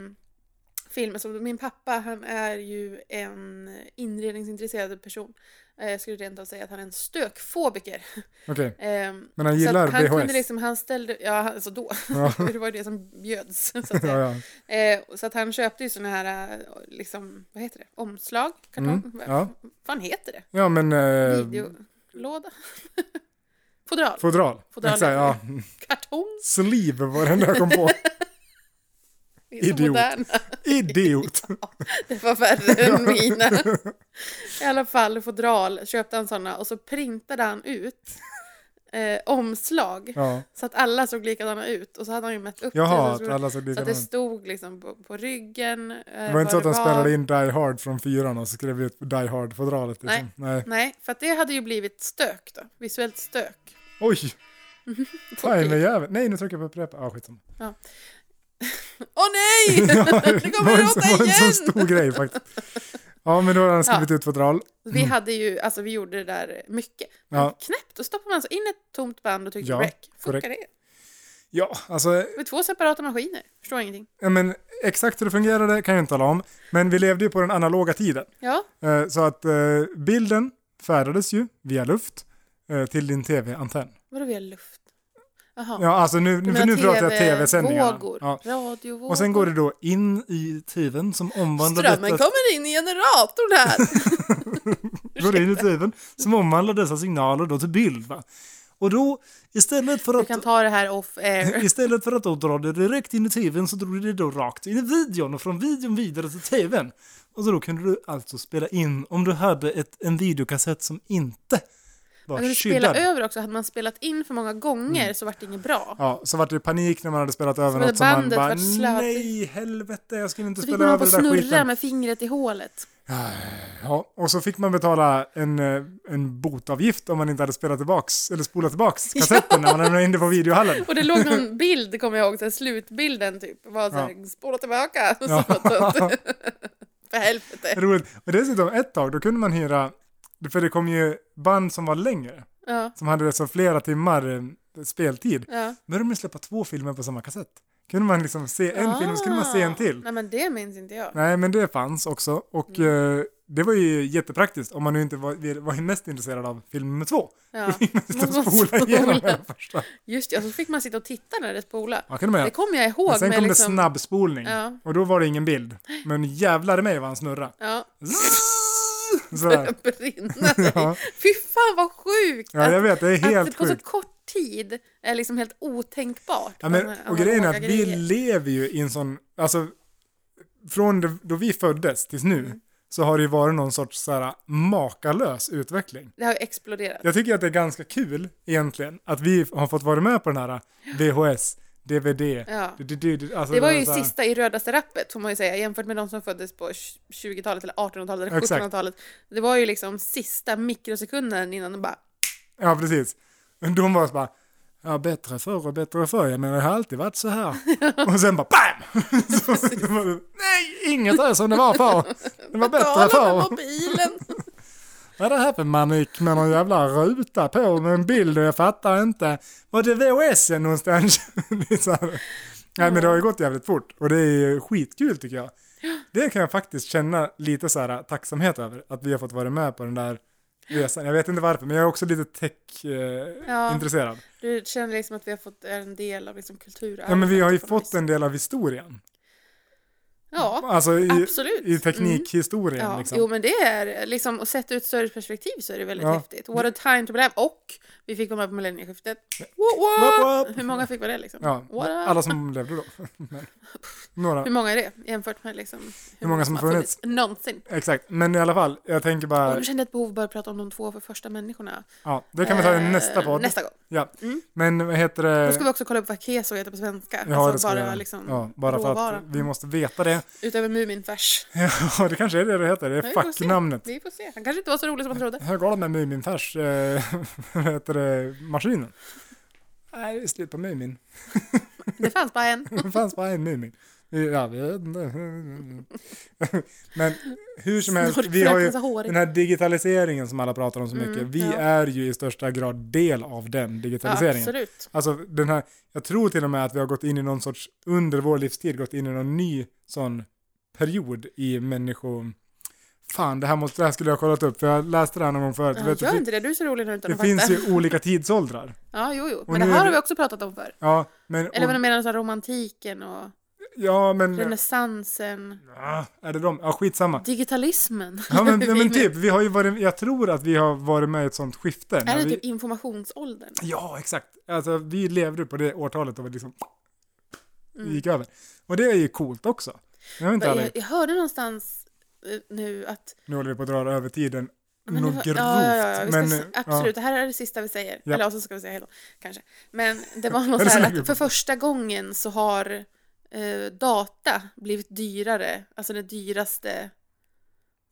Speaker 2: filmer. Så min pappa, han är ju en inredningsintresserad person. Eh, jag skulle rent av säga att han är en stökfobiker.
Speaker 1: Okej,
Speaker 2: Eh,
Speaker 1: men han gillar
Speaker 2: så att han
Speaker 1: VHS.
Speaker 2: kunde liksom, han ställde, ja alltså då, <laughs>
Speaker 1: Ja. <laughs>
Speaker 2: det var ju det som bjöds. Så att, säga.
Speaker 1: ja, ja.
Speaker 2: <laughs> Eh, så att han köpte ju såna här, eh, liksom, vad heter det, omslag, kartong,
Speaker 1: Mm,
Speaker 2: vad
Speaker 1: ja.
Speaker 2: fan heter det?
Speaker 1: ja, men... Eh,
Speaker 2: Videolåda? <laughs> Fodral?
Speaker 1: Fodral.
Speaker 2: Fodral
Speaker 1: Exakt, ja.
Speaker 2: heter Kartong?
Speaker 1: Sleeve var den jag kom
Speaker 2: <laughs>
Speaker 1: på.
Speaker 2: Det är så
Speaker 1: Idiot.
Speaker 2: moderna.
Speaker 1: Idiot.
Speaker 2: Det var värre
Speaker 1: <laughs>
Speaker 2: än mina. I alla fall fodral köpte han sådana och så printade han ut eh, omslag
Speaker 1: Ja.
Speaker 2: så att alla såg likadana ut och så hade han ju mätt upp
Speaker 1: Jaha,
Speaker 2: det. Så,
Speaker 1: att
Speaker 2: så,
Speaker 1: alla såg
Speaker 2: så att det
Speaker 1: likadana ut.
Speaker 2: stod liksom på, på ryggen. Eh,
Speaker 1: Det var
Speaker 2: vad
Speaker 1: inte så att han spelade
Speaker 2: var.
Speaker 1: in Die Hard från fyran och så skrev ut Die Hard-fodralet liksom. Nej.
Speaker 2: Nej, för att det hade ju blivit stök då. Visuellt stök.
Speaker 1: Oj,
Speaker 2: Okej.
Speaker 1: timerjävel. Nej, nu trycker jag på upprepa. Ja,
Speaker 2: <laughs>
Speaker 1: skitsamma.
Speaker 2: Åh
Speaker 1: <laughs>
Speaker 2: nej! <laughs> det kommer
Speaker 1: en-
Speaker 2: låta
Speaker 1: var en sån
Speaker 2: igen!
Speaker 1: stor grej faktiskt. Ja, men då har han skrivit ut fodral.
Speaker 2: Vi hade ju, alltså vi gjorde det där mycket. Men
Speaker 1: Ja.
Speaker 2: knäppt, då stoppade man alltså in ett tomt band och tryckte
Speaker 1: Ja,
Speaker 2: ja, rec. Funkar
Speaker 1: korrekt.
Speaker 2: det?
Speaker 1: Ja, alltså
Speaker 2: Det var två separata maskiner. Förstår ingenting.
Speaker 1: ja, men, exakt hur det fungerade kan jag inte tala om. Men vi levde ju på den analoga tiden.
Speaker 2: Ja,
Speaker 1: Eh, Så att eh, bilden färdades ju via luft eh, till din tv-antenn.
Speaker 2: vadå vi har luft? Jaha.
Speaker 1: Ja, alltså nu, nu, för nu pratar jag tv-sändningarna.
Speaker 2: Vågor,
Speaker 1: Ja.
Speaker 2: radiovågor.
Speaker 1: Och sen går det då in i tvn som omvandlar
Speaker 2: Strömmen
Speaker 1: detta,
Speaker 2: kommer in i generatorn här!
Speaker 1: <laughs> går in i tvn som omvandlar dessa signaler då till bild. Va? Och då istället för
Speaker 2: Du
Speaker 1: att
Speaker 2: kan ta det här off air.
Speaker 1: Istället för att då dra det direkt in i tvn så drog det då rakt in i videon och från videon vidare till tvn. Och så då kunde du alltså spela in om du hade ett, en videokassett som inte var
Speaker 2: Man kunde
Speaker 1: skyddad.
Speaker 2: spela över också. Hade man spelat in för många gånger
Speaker 1: Mm.
Speaker 2: så vart det inget bra.
Speaker 1: Ja, så vart det panik när man hade spelat över
Speaker 2: hade
Speaker 1: något som man
Speaker 2: bandet
Speaker 1: bara
Speaker 2: varit sladdigt.
Speaker 1: nej helvete jag skulle inte
Speaker 2: Så fick
Speaker 1: spela
Speaker 2: man hålla
Speaker 1: över
Speaker 2: på och
Speaker 1: den där
Speaker 2: snurra
Speaker 1: skiten.
Speaker 2: med fingret i hålet.
Speaker 1: Ja, och så fick man betala en, eh, en botavgift om man inte hade spelat tillbaks eller spolat tillbaks kassetten när man lämnade in det på videohallen.
Speaker 2: Och det
Speaker 1: <laughs>
Speaker 2: låg någon bild,
Speaker 1: <laughs>
Speaker 2: kommer jag ihåg, så här, slutbilden typ. Var så här, spola tillbaka. Så
Speaker 1: Ja.
Speaker 2: att- <laughs> För helvete.
Speaker 1: Roligt. Och dessutom ett tag, då kunde man hyra, för det kom ju band som var längre,
Speaker 2: Ja,
Speaker 1: som hade så flera timmar eh, speltid.
Speaker 2: ja.
Speaker 1: Då hade de ju släppa två filmer på samma kassett. Kunde man liksom se en film och så kunde man se en till.
Speaker 2: Ah. Nej men det minns inte jag.
Speaker 1: Nej, men det fanns också och eh, det var ju jättepraktiskt om man nu inte var, var mest intresserad av film nummer två. <laughs> Då
Speaker 2: Ja.
Speaker 1: fick man sitta och
Speaker 2: Man
Speaker 1: spola
Speaker 2: spolar.
Speaker 1: igenom den första.
Speaker 2: Just det, och så fick man sitta och titta när det spolade.
Speaker 1: Ja, kunde man
Speaker 2: Det
Speaker 1: göra.
Speaker 2: kommer jag
Speaker 1: Men
Speaker 2: ihåg.
Speaker 1: sen
Speaker 2: med
Speaker 1: kom
Speaker 2: liksom...
Speaker 1: det snabbspolning
Speaker 2: Ja.
Speaker 1: och då var det ingen bild. Men jävlar i mig vad han snurrade.
Speaker 2: <laughs> Ja,
Speaker 1: Sådär.
Speaker 2: brinna sig.
Speaker 1: <laughs> Ja.
Speaker 2: Fy fan vad sjukt!
Speaker 1: Ja, jag vet, det är
Speaker 2: att det
Speaker 1: helt
Speaker 2: på så
Speaker 1: sjukt.
Speaker 2: kort tid är liksom helt otänkbart.
Speaker 1: Ja, men,
Speaker 2: Alla- alla
Speaker 1: och grejen är
Speaker 2: analoga
Speaker 1: att vi
Speaker 2: grejer.
Speaker 1: lever ju i en sån, alltså från det, då vi föddes tills nu
Speaker 2: Mm.
Speaker 1: så har det ju varit någon sorts så här, makalös utveckling.
Speaker 2: Det har ju exploderat.
Speaker 1: Jag tycker att det är ganska kul egentligen att vi har fått vara med på den här VHS, DVD.
Speaker 2: Ja.
Speaker 1: Du, du, du, du, alltså
Speaker 2: Det var ju
Speaker 1: så här-
Speaker 2: sista i rödaste rappet, får man ju säga, jämfört med de som föddes på 20-talet eller 1800-talet eller
Speaker 1: Exakt.
Speaker 2: 1700-talet. Det var ju liksom sista mikrosekunden innan de bara
Speaker 1: Ja, precis. Men De var så bara, ja bättre förr och bättre förr, jag menar det har alltid varit så här. och sen bara BAM! så, så var det, Nej, inget är som det var förr. Det var bättre
Speaker 2: betala med
Speaker 1: förr.
Speaker 2: mobilen!
Speaker 1: Vad är det här för manik med någon jävla ruta på med en bild och jag fattar inte. Var det VHS en någonstans? <laughs> det är så här. Nej men det har ju gått jävligt fort och det är ju skitkul tycker jag. Det kan jag faktiskt känna lite så här tacksamhet över, att vi har fått vara med på den där resan. Jag vet inte varför, men jag är också lite
Speaker 2: Ja.
Speaker 1: tech-intresserad. ja.
Speaker 2: <laughs> Du känner liksom att vi har fått är en del av liksom kulturarvet.
Speaker 1: men vi har ju
Speaker 2: på något
Speaker 1: fått
Speaker 2: vis.
Speaker 1: en del av historien.
Speaker 2: Ja,
Speaker 1: Alltså i,
Speaker 2: absolut. Mm.
Speaker 1: i teknikhistorien
Speaker 2: Ja,
Speaker 1: liksom.
Speaker 2: Jo men det är liksom, och sett ur ett större perspektiv så är det väldigt
Speaker 1: Ja.
Speaker 2: häftigt. What a time to be alive. Och vi fick vara med på millennieskiftet. What,
Speaker 1: Woop,
Speaker 2: what?
Speaker 1: woop.
Speaker 2: Hur många fick vara det liksom?
Speaker 1: Ja,
Speaker 2: What a-
Speaker 1: alla som levde då. <laughs> Men, Några.
Speaker 2: Hur många är det jämfört med liksom,
Speaker 1: Hur många som har funnits?
Speaker 2: Någonsin.
Speaker 1: Exakt, men i alla fall, jag tänker
Speaker 2: Och
Speaker 1: bara,
Speaker 2: nu kände jag ett behov bara att prata om de två första människorna.
Speaker 1: ja, det kan vi ta i
Speaker 2: Eh,
Speaker 1: nästa podd.
Speaker 2: Nästa gång.
Speaker 1: Ja,
Speaker 2: Mm.
Speaker 1: men vad heter det?
Speaker 2: Då ska vi också kolla upp vad keso heter på svenska.
Speaker 1: Ja, det
Speaker 2: alltså
Speaker 1: ska vi
Speaker 2: bara
Speaker 1: göra.
Speaker 2: liksom
Speaker 1: ja, bara för att
Speaker 2: råvaran.
Speaker 1: vi måste veta det. <laughs>
Speaker 2: Utöver Muminfärs.
Speaker 1: Ja, det kanske är det det heter, det
Speaker 2: Ja,
Speaker 1: är
Speaker 2: vi får se.
Speaker 1: facknamnet.
Speaker 2: Vi får se. Han kanske inte var så rolig som man trodde.
Speaker 1: Hur går det med Muminfärs, eh, <laughs> vad heter det, maskinen? Nej, det är slut på Mumin. <laughs>
Speaker 2: Det fanns bara en.
Speaker 1: Det fanns bara en Mumin. Ja, vi <laughs> vet inte. Men hur som helst, vi har ju
Speaker 2: Snorkfröken så hårig.
Speaker 1: den här digitaliseringen som alla pratar om så mycket. vi
Speaker 2: Mm, ja.
Speaker 1: är ju i största grad del av den
Speaker 2: ja,
Speaker 1: digitaliseringen.
Speaker 2: Absolut.
Speaker 1: Alltså den här, jag tror till och med att vi har gått in i någon sorts, under vår livstid, gått in i någon ny sån period i människor... Fan, det här, måste, det här skulle jag ha kollat upp, för jag läste det här någon gång förut.
Speaker 2: Ja,
Speaker 1: Vet du,
Speaker 2: gör
Speaker 1: det-
Speaker 2: inte det, du är så rolig nu utan
Speaker 1: det
Speaker 2: att fatta.
Speaker 1: finns ju olika tidsåldrar.
Speaker 2: Ja, jo, jo.
Speaker 1: Och
Speaker 2: Men det
Speaker 1: nu
Speaker 2: här
Speaker 1: är
Speaker 2: har
Speaker 1: det-
Speaker 2: vi också pratat om förr.
Speaker 1: Ja, men...
Speaker 2: Eller vad
Speaker 1: och,
Speaker 2: du menar, så här romantiken och
Speaker 1: ja, men...
Speaker 2: renässansen,
Speaker 1: Ah, är det de? Ja, skitsamma.
Speaker 2: digitalismen.
Speaker 1: Ja,
Speaker 2: <laughs>
Speaker 1: men, ja,
Speaker 2: Vi-
Speaker 1: men typ, vi har ju varit, jag tror att vi har varit med i ett sånt skifte. när
Speaker 2: Är det
Speaker 1: vi,
Speaker 2: typ informationsåldern?
Speaker 1: Ja, exakt. Alltså, vi levde på det årtalet och vi liksom
Speaker 2: Mm.
Speaker 1: gick över. Och det är ju coolt också. Jag vet inte
Speaker 2: Jag,
Speaker 1: ärlig.
Speaker 2: jag hörde någonstans eh, nu att...
Speaker 1: Nu håller vi på att dra över tiden
Speaker 2: det
Speaker 1: något
Speaker 2: var-
Speaker 1: grovt.
Speaker 2: Ja, ja, ja, vi ska,
Speaker 1: men,
Speaker 2: se-
Speaker 1: ja.
Speaker 2: absolut. Det här är det sista vi säger.
Speaker 1: Ja.
Speaker 2: Eller ja, så ska vi säga hej då, kanske. Men
Speaker 1: <laughs>
Speaker 2: det var något
Speaker 1: Är det
Speaker 2: så
Speaker 1: så
Speaker 2: här
Speaker 1: länge?
Speaker 2: att för första gången så har eh, data blivit dyrare, alltså det dyraste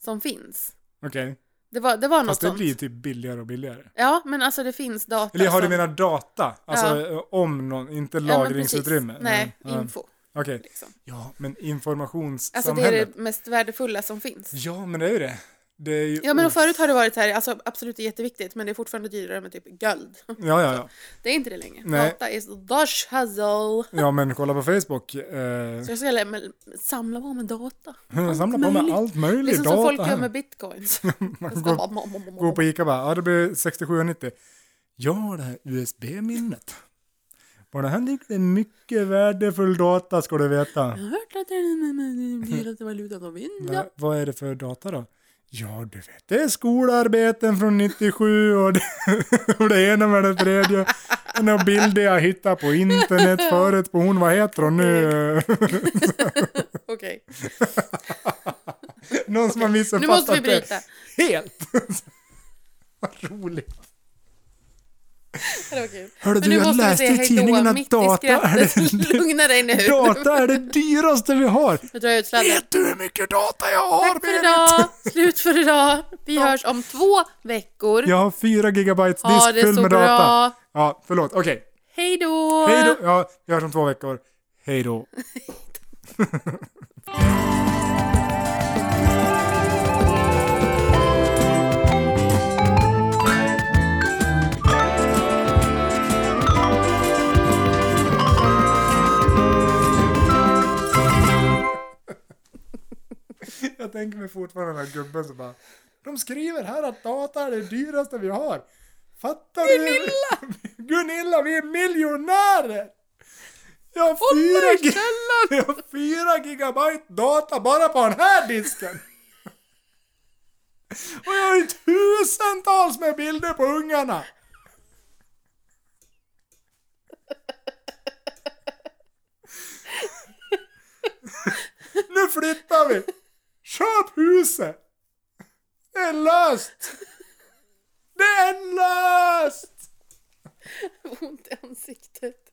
Speaker 2: som finns.
Speaker 1: Okej,
Speaker 2: Det var, det var något
Speaker 1: fast det
Speaker 2: sånt.
Speaker 1: blir typ billigare och billigare.
Speaker 2: Ja, men alltså det finns data
Speaker 1: Eller har du
Speaker 2: som-
Speaker 1: menat data? Alltså eh, om någon, inte
Speaker 2: Ja, men
Speaker 1: lagringsutrymme?
Speaker 2: precis. Nej,
Speaker 1: ja.
Speaker 2: info.
Speaker 1: Okej,
Speaker 2: Liksom.
Speaker 1: ja men
Speaker 2: Alltså
Speaker 1: informationssamhället.
Speaker 2: det är det mest värdefulla som finns.
Speaker 1: Ja men det är ju det. Det är ju...
Speaker 2: Ja men och förut har det varit så här, alltså absolut det är jätteviktigt men det är fortfarande dyrare med typ guld. <laughs>
Speaker 1: ja, ja, ja.
Speaker 2: Det är inte det längre.
Speaker 1: Nej.
Speaker 2: Data is dash hassle.
Speaker 1: ja men kolla på Facebook. Eh,
Speaker 2: Så jag ska lämna- samla på mig data.
Speaker 1: samla på mig
Speaker 2: möjligt.
Speaker 1: allt möjligt.
Speaker 2: Liksom som
Speaker 1: data
Speaker 2: folk gör
Speaker 1: här. <laughs>
Speaker 2: med bitcoins. Jag ska
Speaker 1: går-
Speaker 2: bara mom, mom, mom,
Speaker 1: Gå
Speaker 2: mom.
Speaker 1: på Ica bara, ja det blir 67,90. Ja, det här USB-minnet. På den här ligger det mycket värdefull data ska du veta.
Speaker 2: Jag har hört att det är den dyraste valutan de vinner.
Speaker 1: Va, vad är det för data då? Ja, du vet, det är skolarbeten från 97 och det, <laughs> och det ena med det tredje. Och Några bilder jag hittade på internet förut på hon, vad heter hon nu?
Speaker 2: Okej, <laughs>
Speaker 1: Någon som har
Speaker 2: nu måste vi
Speaker 1: missuppfattat det
Speaker 2: bryta.
Speaker 1: helt. <laughs> Vad roligt.
Speaker 2: Det var kul.
Speaker 1: Hörde Alltså, du,
Speaker 2: Men nu
Speaker 1: jag
Speaker 2: måste vi
Speaker 1: läste
Speaker 2: säga
Speaker 1: i
Speaker 2: hej då,
Speaker 1: tidningen att
Speaker 2: mitt i
Speaker 1: data <laughs> är
Speaker 2: skrattet.
Speaker 1: det-
Speaker 2: <laughs> Lugna dig nu.
Speaker 1: Data är det dyraste vi har.
Speaker 2: Nu drar jag ut sladden.
Speaker 1: du hur mycket data jag har?
Speaker 2: Tack för idag! Slut för idag! Vi hörs om två veckor.
Speaker 1: Jag har fyra gigabytes
Speaker 2: Ha
Speaker 1: disk
Speaker 2: det
Speaker 1: full
Speaker 2: så
Speaker 1: med
Speaker 2: bra.
Speaker 1: data. Ja, förlåt. Okej.
Speaker 2: Hej då!
Speaker 1: Hej då. Ja, vi hörs om två <laughs> veckor. Hej då. tänker mig fortfarande den här gubben som bara De skriver här att data är det dyraste vi har. Fattar Gunilla! du? <laughs> Gunilla! vi är miljonärer! Jag har fyra, gi- <laughs> jag har fyra gigabyte data bara på den här disken! Och jag har ju tusentals med bilder på ungarna! Nu flyttar vi! Köp huset! Det är löst! Det är löst!
Speaker 2: Ont i ansiktet.